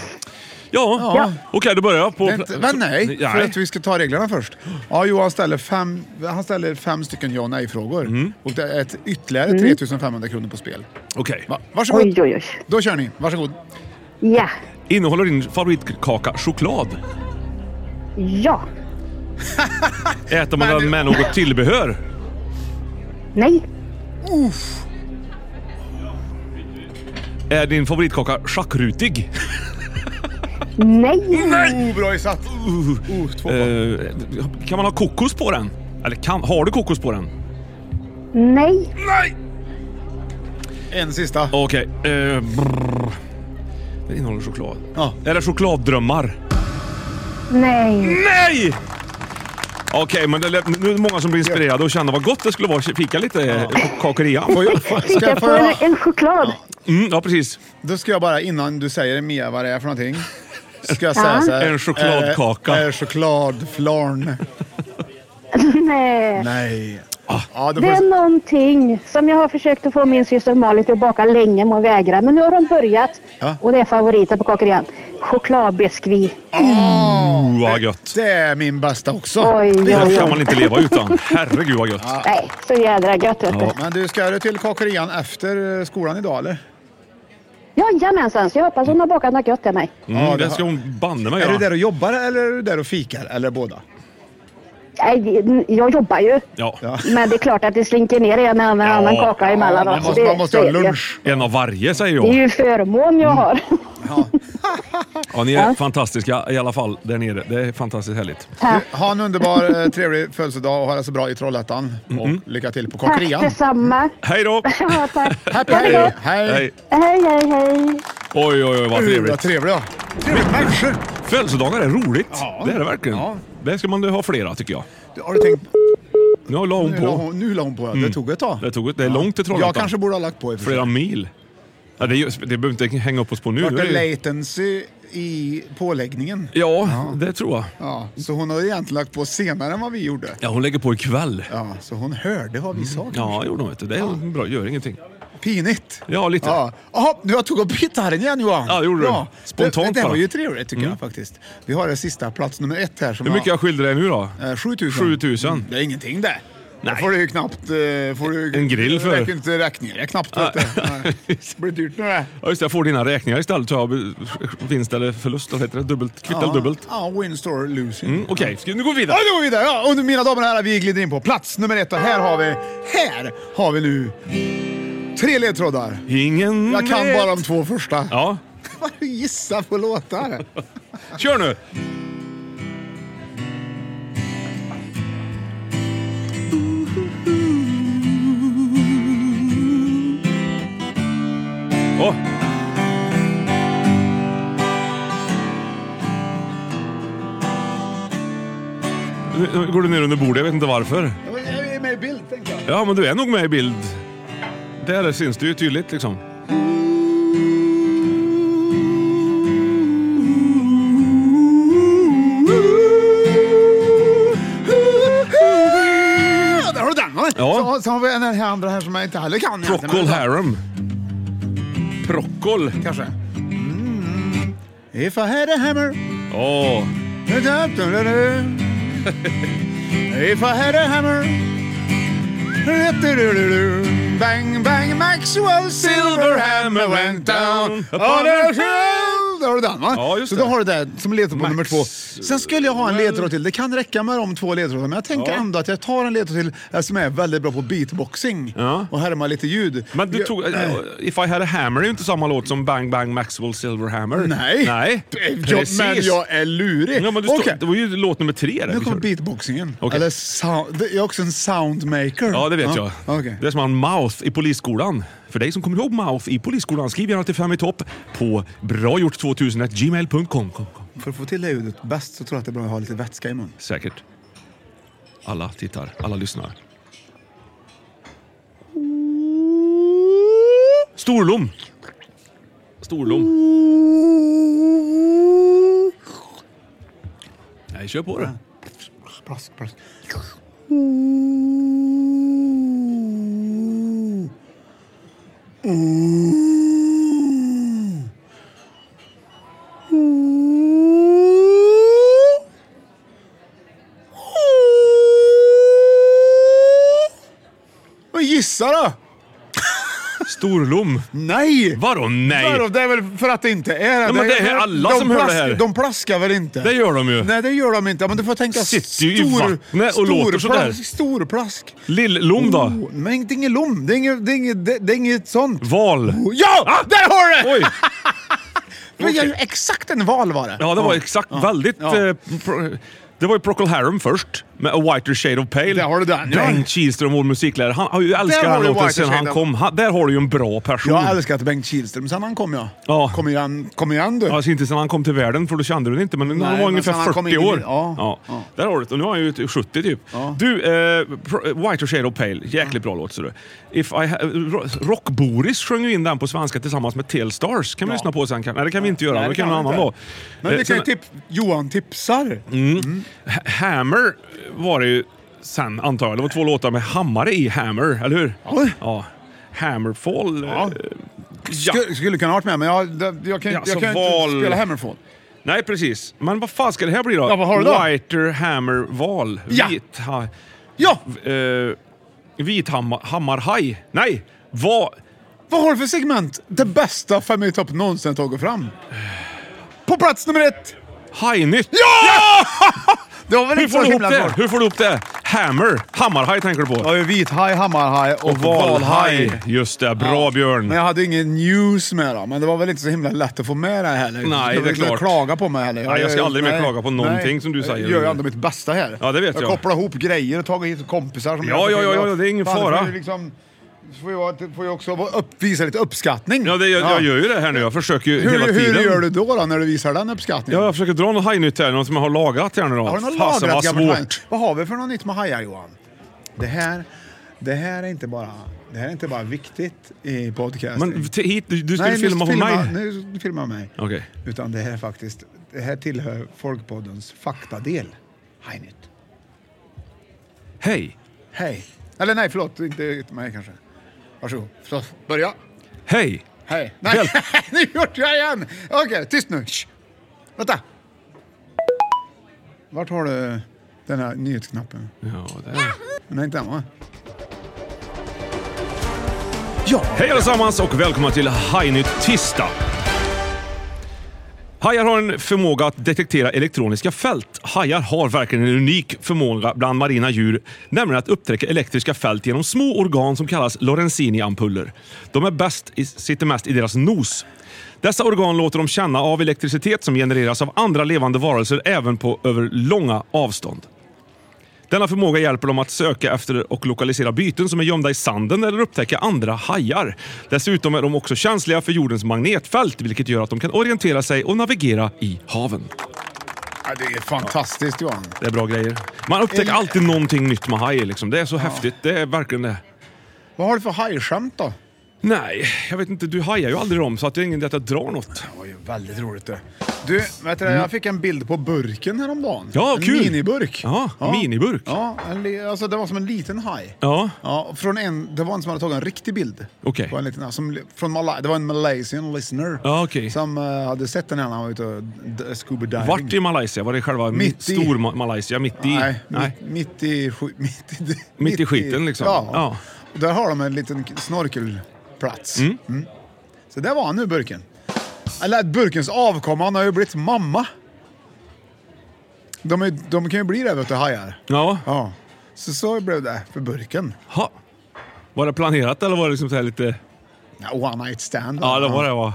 Speaker 1: Ja.
Speaker 2: okej då börjar jag på...
Speaker 1: Vänta, men nej, för
Speaker 2: nej.
Speaker 1: att vi ska ta reglerna först. Ja, Johan ställer fem, han ställer fem stycken ja och nej-frågor.
Speaker 2: Mm.
Speaker 1: Och det är ett, ytterligare 3500 kronor på spel.
Speaker 2: Okej.
Speaker 1: Va, varsågod.
Speaker 6: Mm. Oj, oj, oj.
Speaker 1: Då kör ni. Varsågod.
Speaker 6: Ja,
Speaker 2: Innehåller din favoritkaka choklad?
Speaker 6: ja,
Speaker 2: Äter man den med något tillbehör?
Speaker 6: nej,
Speaker 2: Är din favoritkaka schackrutig?
Speaker 6: nej,
Speaker 1: Oh, bra gissat. Oh, två poäng.
Speaker 2: Eh, kan man ha kokos på den? Eller kan, har du kokos på den?
Speaker 6: nej,
Speaker 1: En sista.
Speaker 2: Okej. eh, brrr. den innehåller choklad.
Speaker 1: Ja.
Speaker 2: Är det chokladdrömmar?
Speaker 6: nej.
Speaker 2: Nej! Okej, men det, lät- nu är det många som blir inspirerade och känner vad gott det skulle vara att fika lite eh, ja. kakeria.
Speaker 1: Får jag, får, ska,
Speaker 6: Jag
Speaker 1: jag- får
Speaker 6: får en,
Speaker 1: jag,
Speaker 6: en choklad.
Speaker 2: Mm, ja, precis.
Speaker 1: då ska jag bara, innan du säger Mia vad det är för någonting, ska jag säga så här.
Speaker 2: En chokladkaka.
Speaker 1: Eh, eh, chokladflarn.
Speaker 6: Nej.
Speaker 1: Nej.
Speaker 2: Ah.
Speaker 1: Ja, då
Speaker 6: Det
Speaker 1: får
Speaker 6: är
Speaker 1: du,
Speaker 6: någonting som jag har försökt att få min syster Malin till att baka länge, men hon vägrar. Men nu har hon börjat.
Speaker 1: Ja.
Speaker 6: Och det är favoriten på kakerian. Chokladbiskvi.
Speaker 2: Oh, vad gött.
Speaker 1: Ah, det är min bästa också.
Speaker 6: Oj, oj,
Speaker 2: Det kan
Speaker 6: oj.
Speaker 2: man inte leva utan. Herregud vad gött.
Speaker 6: Nej, så jädra gött vet du.
Speaker 1: Men du, ska du till kakerian efter eh, skolan idag eller?
Speaker 6: Jajamensan, så jag hoppas hon har bakat något gött till mig.
Speaker 2: Mm, det ska hon banne mig
Speaker 1: Är du
Speaker 2: göra.
Speaker 1: där och jobbar eller är du där och fikar? Eller båda?
Speaker 6: Nej, det- jag jobbar ju.
Speaker 2: Ja.
Speaker 6: Men det är klart att det slinker ner en och
Speaker 2: Ja,
Speaker 6: annan kaka emellan.
Speaker 1: man
Speaker 6: också.
Speaker 1: måste,
Speaker 6: Det-
Speaker 1: man måste
Speaker 6: så
Speaker 1: ha
Speaker 6: är det ju.
Speaker 1: lunch.
Speaker 2: En av varje säger
Speaker 6: Det är
Speaker 2: jag.
Speaker 6: ju en förmån jag har.
Speaker 2: Ja, ni är fantastiska i alla fall där nere. Det är fantastiskt härligt.
Speaker 1: Du, ha en underbar, eh, trevlig födelsedag och ha det så bra i Trollhättan. Och lycka till på
Speaker 6: Tack
Speaker 1: kakerian.
Speaker 6: detsamma.
Speaker 2: Hej då!
Speaker 6: Ja, tack.
Speaker 1: Happy
Speaker 6: Ha det
Speaker 1: day.
Speaker 6: gott.
Speaker 1: Hej!
Speaker 2: Hej.
Speaker 6: Hej, hej, hej.
Speaker 2: Oj, oj, oj vad
Speaker 1: Gud, Vad
Speaker 2: trevligt.
Speaker 1: trevligt. ja. Trevliga människor.
Speaker 2: Födelsedagar är roligt.
Speaker 1: Ja.
Speaker 2: Det är det verkligen.
Speaker 1: Ja.
Speaker 2: Det ska man ha flera tycker jag.
Speaker 1: Du, Har du tänkt...
Speaker 2: Nu la hon
Speaker 1: Nu la
Speaker 2: på. Mm.
Speaker 1: hon, nu la hon på. Det tog ett tag.
Speaker 2: Det, tog, det är långt till Trollhättan.
Speaker 1: Jag kanske borde ha lagt på i och för sig.
Speaker 2: Flera mil. Ja, det, är ju- det behöver inte hänga upp oss på nu.
Speaker 1: Vart
Speaker 2: Nu är
Speaker 1: det
Speaker 2: det ju-
Speaker 1: latency i påläggningen?
Speaker 2: Ja, det tror jag.
Speaker 1: Ja, så hon har egentligen lagt på senare än vad vi gjorde.
Speaker 2: Ja, hon lägger på ikväll.
Speaker 1: Ja, så hon hörde vad vi sa.
Speaker 2: Mm. Ja, det gjorde hon. Vet du. Det är bra. Gör ingenting.
Speaker 1: Pinigt.
Speaker 2: Ja, lite.
Speaker 1: Ja. Jaha, nu jag tog upp gitarren igen Johan.
Speaker 2: Ja, det gjorde du. Spontant
Speaker 1: Det, det var
Speaker 2: bara. Mm.
Speaker 1: ju trevligt tycker jag faktiskt. Vi har det sista, plats nummer ett här. Som
Speaker 2: Hur mycket jag skyldig dig nu då?
Speaker 1: Eh, 7000.
Speaker 2: 7000.
Speaker 1: Mm, Det är ingenting det.
Speaker 2: Nej.
Speaker 1: Det får du ju knappt... eh, Får du,
Speaker 2: En grill för.
Speaker 1: Det räcker inte räkningar knappt. Vet du. Nej. Det blir dyrt nu det.
Speaker 2: Ja, just det. Jag får dina räkningar istället. Så jag har vinst eller förlust. Vad heter det? Dubbelt, kvitt eller dubbelt.
Speaker 1: Ja, win, store, losing.
Speaker 2: Mm, Okej, ska- nu går vi
Speaker 1: Ja,
Speaker 2: vidare.
Speaker 1: nu går vi vidare. Ja, och nu, mina damer och herrar, vi glider in på plats nummer ett och här har vi... Här har vi nu tre ledtrådar.
Speaker 2: Ingen
Speaker 1: Jag kan
Speaker 2: vet.
Speaker 1: bara de två första.
Speaker 2: Ja,
Speaker 1: Vad du gissar på låtar.
Speaker 2: kör nu. går du ner under bordet. Jag vet inte varför.
Speaker 1: Jag är med i bild, tänker jag.
Speaker 2: Ja, men du är nog med i bild. Där syns du ju tydligt liksom.
Speaker 1: Ja, där har du den va?
Speaker 2: Ja.
Speaker 1: Så, så har vi den här andra här som jag inte heller kan. egentligen,
Speaker 2: Procol
Speaker 1: men-
Speaker 2: Harum. Procol.
Speaker 1: Kanske. Mm. If I had a hammer
Speaker 2: Åh.
Speaker 1: If I had a hammer Bang bang Maxwell Silverhammer went down on a hill Där har du den va?
Speaker 2: Ja, just
Speaker 1: Så
Speaker 2: det.
Speaker 1: då har du det som ledtråd på nummer två. Sen skulle jag ha en ledtråd till. Det kan räcka med de två ledtrådarna. Men jag tänker
Speaker 2: Ja.
Speaker 1: ändå att jag tar en ledtråd till eh, som är väldigt bra på beatboxing
Speaker 2: Ja.
Speaker 1: och härma lite ljud.
Speaker 2: Men du
Speaker 1: Jag-
Speaker 2: tog... eh, If I had a hammer är ju inte samma låt som Bang Bang Maxwell Silverhammer.
Speaker 1: Nej.
Speaker 2: Nej.
Speaker 1: Jag, men jag är lurig.
Speaker 2: Ja, men du stod,
Speaker 1: Okej.
Speaker 2: Det var ju låt nummer tre där.
Speaker 1: Nu
Speaker 2: vi
Speaker 1: kommer
Speaker 2: körde.
Speaker 1: beatboxingen.
Speaker 2: Okej.
Speaker 1: Eller sound, det- jag är också en soundmaker.
Speaker 2: Ja, det vet jag.
Speaker 1: okej.
Speaker 2: Det är som han Mouth i Polisskolan. För dig som kommer ihåg Mouth i Polisskolan, skriv gärna till Fem i topp på bragjort2000gmail.com. Kom, kom.
Speaker 1: För att få till det ljudet bäst så tror jag att det är bra att ha lite vätska i munnen.
Speaker 2: Säkert. Alla tittar, alla lyssnar. Storlom. Storlom. Nej, kör på det.
Speaker 1: Plask, plask. Men gissa då!
Speaker 2: Storlom.
Speaker 1: Nej!
Speaker 2: Vadå nej?
Speaker 1: Vadå, Det är väl för att det inte är det.
Speaker 2: Ja, men det är alla
Speaker 1: de
Speaker 2: som hör det
Speaker 1: plask-
Speaker 2: här.
Speaker 1: De plaskar väl inte?
Speaker 2: Det gör de ju.
Speaker 1: Nej, det gör de inte. Ja, Men du får tänka
Speaker 2: Sitter ju i vattnet och
Speaker 1: stor
Speaker 2: låter sådär.
Speaker 1: plask- Stor plask.
Speaker 2: Lill-Lom då?
Speaker 1: Oh, men det är inget lom. Det är inget, det är inget, det det är inget sånt.
Speaker 2: Val. Ah!
Speaker 1: Oh, Ja! Där har du det!
Speaker 2: Oj!
Speaker 1: Det är ju exakt en val var det.
Speaker 2: Ja, det var exakt väldigt...
Speaker 1: Ja.
Speaker 2: Eh, pro, det var ju Procol Harum först, med A Whiter Shade of Pale.
Speaker 1: Där har du den, ja.
Speaker 2: Bengt Kihlström, vår musiklärare. Han har ju älskat
Speaker 1: Där
Speaker 2: den
Speaker 1: har du
Speaker 2: låten
Speaker 1: Whiter
Speaker 2: sen han
Speaker 1: Shade of-
Speaker 2: kom. Han, där har du ju en bra person.
Speaker 1: Jag har älskat Bengt Kihlström sen han kom ja.
Speaker 2: Ja.
Speaker 1: Kom igen, kom igen du.
Speaker 2: Alltså inte sen han kom till världen, för då kände du det inte, men
Speaker 1: Nej,
Speaker 2: han var
Speaker 1: men
Speaker 2: ungefär
Speaker 1: sen han kom
Speaker 2: 40
Speaker 1: in i-
Speaker 2: år.
Speaker 1: ja, ja.
Speaker 2: Där har du det. Och nu är han ju ett- 70 typ. Du, eh, Pro- eh, Whiter Shade of Pale, jäkligt bra låt. ser du. If I ha- eh, Ro- Rock-Boris sjöng ju in den på svenska tillsammans med Telstars. kan vi lyssna på sen. kan- Nej, det kan vi inte göra.
Speaker 1: Nej,
Speaker 2: men
Speaker 1: det
Speaker 2: det kan
Speaker 1: kan
Speaker 2: någon
Speaker 1: vi
Speaker 2: annan
Speaker 1: inte.
Speaker 2: då.
Speaker 1: Men
Speaker 2: Eh,
Speaker 1: vi kan ju
Speaker 2: sen- Mm.
Speaker 1: tip Johan tipsar.
Speaker 2: Ha- Hammer var det ju sen, antar jag. Det var två låtar med hammare i Hammer, eller hur?
Speaker 1: Ja.
Speaker 2: Hammerfall.
Speaker 1: Ja.
Speaker 2: eh,
Speaker 1: Ja.
Speaker 2: Ja.
Speaker 1: Skulle kunna ha varit med men jag, det- jag kan,
Speaker 2: Ja, så
Speaker 1: jag kan
Speaker 2: val-
Speaker 1: inte spela Hammerfall.
Speaker 2: Nej, precis. Men vad fan ska det här bli då?
Speaker 1: Ja, vad har du då?
Speaker 2: Whiter Hammer Val.
Speaker 1: Ja.
Speaker 2: Vit, ha,
Speaker 1: Ja!
Speaker 2: eh, vit hammar, hammarhaj. Nej! Va,
Speaker 1: Vad har du för segment? Det bästa Fem i topp någonsin tagit fram. På plats nummer ett!
Speaker 2: hajnytt!
Speaker 1: Ja! det var väl
Speaker 2: Hur
Speaker 1: inte
Speaker 2: får
Speaker 1: så
Speaker 2: du ihop
Speaker 1: himla
Speaker 2: det?
Speaker 1: svårt.
Speaker 2: Hur får du ihop det? Hammer. Hammarhaj tänker du på.
Speaker 1: Jag har ju vithaj, hammarhaj och,
Speaker 2: Och valhaj. Just det. Bra,
Speaker 1: Ja.
Speaker 2: Björn.
Speaker 1: Men jag hade ingen news med då, men det var väl inte så himla lätt att få med det heller.
Speaker 2: Nej,
Speaker 1: Du ska
Speaker 2: det är
Speaker 1: väl inte
Speaker 2: klart.
Speaker 1: klaga på mig heller.
Speaker 2: Nej, jag ska aldrig mer
Speaker 1: nej,
Speaker 2: klaga på någonting som du säger.
Speaker 1: Jag gör ju ändå mitt bästa här.
Speaker 2: Ja, det vet jag.
Speaker 1: Jag kopplar ihop grejer och tagit hit kompisar. Som
Speaker 2: Ja,
Speaker 1: hjälper
Speaker 2: ja,
Speaker 1: till
Speaker 2: ja,
Speaker 1: och-
Speaker 2: ja, det är ingen
Speaker 1: Fan,
Speaker 2: fara.
Speaker 1: Får ju liksom, får ju, vara- får ju också vara upp, visa lite uppskattning.
Speaker 2: Ja, det, jag, jag gör ju det här nu. Jag försöker ju hela
Speaker 1: hur,
Speaker 2: tiden.
Speaker 1: hur gör du då, då när du visar den uppskattningen?
Speaker 2: Ja, jag försöker dra något hajnytt här, något som jag har lagat här nu då.
Speaker 1: Har du något
Speaker 2: Fasen,
Speaker 1: lagrat
Speaker 2: vad
Speaker 1: gammalt haj?
Speaker 2: svårt.
Speaker 1: Vad har vi för något nytt med hajar Johan? Det här, det här är inte bara, det här är inte bara viktigt i podcasting.
Speaker 2: Men t- hit, du, du skulle
Speaker 1: nu
Speaker 2: filma på mig.
Speaker 1: Nu filmar jag mig.
Speaker 2: Okej.
Speaker 1: Utan det här är faktiskt, det här tillhör Folkpoddens faktadel. Hajnytt.
Speaker 2: Hej,
Speaker 1: Hej. Eller nej, förlåt. Inte till mig kanske. Varsågod. Så, börja.
Speaker 2: hej.
Speaker 1: Hej. Nej, nu gjorde jag igen! Okej, tyst nu. Shh. Vänta. Vart har du den här nyhetsknappen?
Speaker 2: Ja, där.
Speaker 1: Den är inte den va? Ja!
Speaker 2: Hej allesammans och välkomna till Hajnytt tisdag. Hajar har en förmåga att detektera elektroniska fält. Hajar har verkligen en unik förmåga bland marina djur, nämligen att upptäcka elektriska fält genom små organ som kallas Lorenzini-ampuller. De är bäst, i- sitter mest i deras nos. Dessa organ låter dem känna av elektricitet som genereras av andra levande varelser även på över långa avstånd. Denna förmåga hjälper dem att söka efter och lokalisera byten som är gömda i sanden eller upptäcka andra hajar. Dessutom är de också känsliga för jordens magnetfält, vilket gör att de kan orientera sig och navigera i haven.
Speaker 1: Ja, det är fantastiskt Johan.
Speaker 2: Det är bra grejer. Man upptäcker
Speaker 1: Mm.
Speaker 2: alltid någonting nytt med hajer. Liksom. Det är så häftigt. Det är verkligen det.
Speaker 1: Vad har du för hajskämt då?
Speaker 2: Nej, jag vet inte. Du hajar ju aldrig dem, så att det är ingen idé att jag drar något.
Speaker 1: Det var ju väldigt roligt det. Du, vet du, jag fick en bild på burken häromdagen.
Speaker 2: Mm. Ja,
Speaker 1: en
Speaker 2: kul.
Speaker 1: miniburk.
Speaker 2: Ja, miniburk.
Speaker 1: Ja, en li- alltså det var som en liten haj.
Speaker 2: Ja.
Speaker 1: Ja, från en, det var en som hade tagit en riktig bild.
Speaker 2: Okej.
Speaker 1: På en liten, som, från Mala, det var en Malaysian listener
Speaker 2: Ja, okej.
Speaker 1: som eh, hade sett den här när han var ute och d- scuba diving.
Speaker 2: Vart i Malaysia? Var det själva
Speaker 1: Mitt i.
Speaker 2: stor Ma- Malaysia? Mitt i?
Speaker 1: Nej, Mitt, mitt, i, sk- mitt, i,
Speaker 2: Mitt i skiten, liksom.
Speaker 1: Ja.
Speaker 2: Ja.
Speaker 1: Och där har de en liten k- snorkelplats. Mm. Så där var han nu, burken. Eller burkens avkomma, han har ju blivit mamma. De, är, de kan ju bli det, vet du, hajar.
Speaker 2: Ja.
Speaker 1: Ja. Så så blev det för burken.
Speaker 2: Ha. Var det planerat eller var det liksom så här lite...
Speaker 1: Ja, Mm. one night stand.
Speaker 2: Ja, det var det va?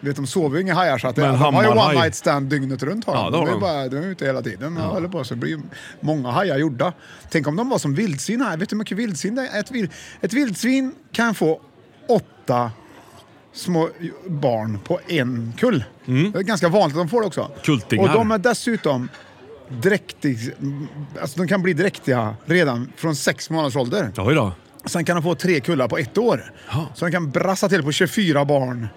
Speaker 1: Vet, de sover ju inga hajar så att det,
Speaker 2: Men
Speaker 1: de har ju
Speaker 2: hammarhaj.
Speaker 1: one night stand dygnet runt. Har
Speaker 2: Ja, det har
Speaker 1: de. De, är
Speaker 2: de.
Speaker 1: bara, de är ute hela tiden och håller på. Så det blir ju många hajar gjorda. Tänk om de var som vildsvin här. Vet du hur mycket vildsvin det är? Ett, vil, ett vildsvin kan få åtta små barn på en kull. Det är ganska vanligt att de får det också.
Speaker 2: Mm. Kultingar.
Speaker 1: Och de är dessutom dräktig, alltså de kan bli dräktiga redan från sex månaders ålder.
Speaker 2: Ja, då.
Speaker 1: Sen kan de få tre kullar på ett år. Så de kan brassa till på 24 barn.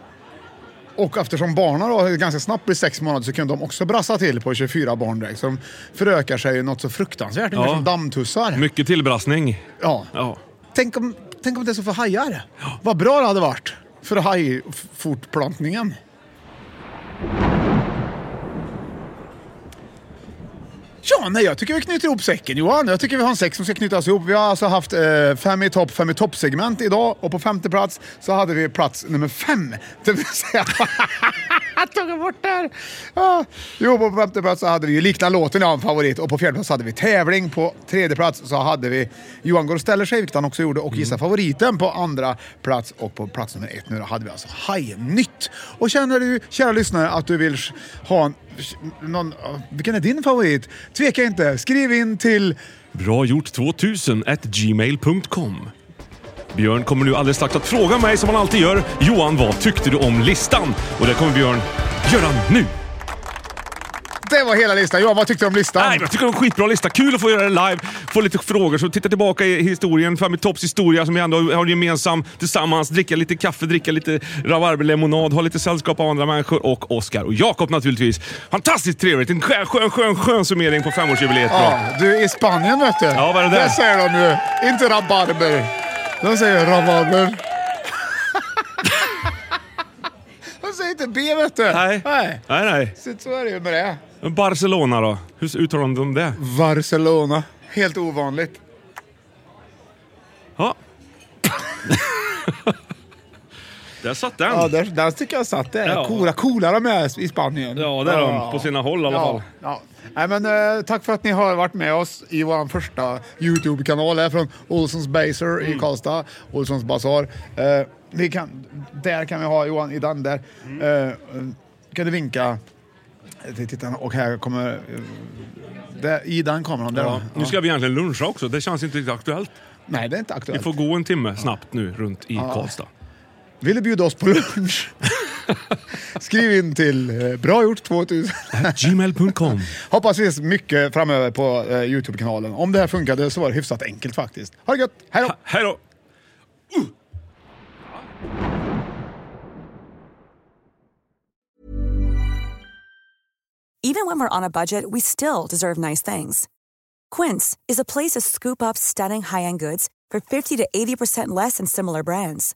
Speaker 1: Och eftersom barnen då ganska snabbt blir sex månader så kan de också brassa till på 24 barn direkt. Så de förökar sig ju något så fruktansvärt, ungefär
Speaker 2: Ja.
Speaker 1: som dammtussar.
Speaker 2: Mycket tillbrassning.
Speaker 1: ja.
Speaker 2: Ja.
Speaker 1: Tänk, om, tänk om det är så för hajar. Vad bra det hade varit för hajfortplantningen. Ja, nej, jag tycker vi knyter ihop säcken Johan. Jag tycker vi har en säck som ska knytas ihop. Vi har alltså haft eh, fem i topp, fem i topp-segment idag och på femte plats så hade vi plats nummer fem. Det vill säga... Tog bort där. Ja. Jo, på femte plats så hade vi ju liknande låten, ja, en favorit. Och på fjärde plats så hade vi tävling. På tredje plats så hade vi Johan går och ställer sig, vilket han också gjorde, och gissa favoriten på andra plats. Och på plats nummer ett nu då hade vi alltså Hajnytt. Och känner du, kära lyssnare, att du vill ha en någon, vilken är din favorit? Tveka inte, skriv in till...
Speaker 2: Bra gjort 2000 at gmail.com. Björn kommer nu alldeles strax att fråga mig som han alltid gör. Johan, vad tyckte du om listan? Och det kommer Björn göra nu.
Speaker 1: Det var hela listan. Johan, vad tyckte du om listan?
Speaker 2: Nej, men jag tycker det är en skitbra lista. Kul att få göra det live. Få lite frågor, så titta tillbaka i historien. Fram i Topps historia som vi ändå har gemensam tillsammans. Dricka lite kaffe, dricka lite rabarberlemonad, ha lite sällskap av andra människor och Oskar och Jakob naturligtvis. Fantastiskt trevligt! En skön, skön, skön, skön summering på femårsjubileet. Bra.
Speaker 1: ja, du, i Spanien vet du.
Speaker 2: Ja, vad är det där?
Speaker 1: Det säger de ju. Inte rabarber. De säger rabarber. de säger inte B vet du.
Speaker 2: Nej.
Speaker 1: Nej.
Speaker 2: nej, nej.
Speaker 1: Så, så är det ju med det.
Speaker 2: Men Barcelona då? Hur uttalar de det?
Speaker 1: Barcelona. Helt ovanligt.
Speaker 2: Ja. Där satt den.
Speaker 1: Ja, där, där tycker jag satt där.
Speaker 2: Ja.
Speaker 1: Coola, coola de är i Spanien.
Speaker 2: Ja, det är de. På sina håll i alla
Speaker 1: ja.
Speaker 2: fall.
Speaker 1: Ja. Nej, men, eh, tack för att ni har varit med oss i vår första YouTube-kanal här från Olssons Baser
Speaker 2: Mm.
Speaker 1: i Karlstad, Olssons Basar. Eh, vi kan, där kan vi ha Johan i den där.
Speaker 2: Mm.
Speaker 1: Eh, kan du vinka till tittarna? Och här kommer... eh, Där, I den kameran. Där
Speaker 2: Ja.
Speaker 1: då.
Speaker 2: Nu ska vi egentligen luncha också. Det känns inte riktigt aktuellt.
Speaker 1: Nej, det är inte aktuellt.
Speaker 2: Vi får gå en timme snabbt nu runt i Karlstad.
Speaker 1: Vill du bjuda oss på lunch? Skriv in till eh, bra gjort 2000
Speaker 2: Gmail.com.
Speaker 1: Hoppas vi ses mycket framöver på eh, Youtube-kanalen. Om det här funkade så var det hyfsat enkelt faktiskt. Ha det gött, hej då!
Speaker 2: Hej då!
Speaker 7: Even when we're on a budget, we still deserve nice things. Quince is a place to scoop up stunning high-end goods for 50 to 80% less than similar brands.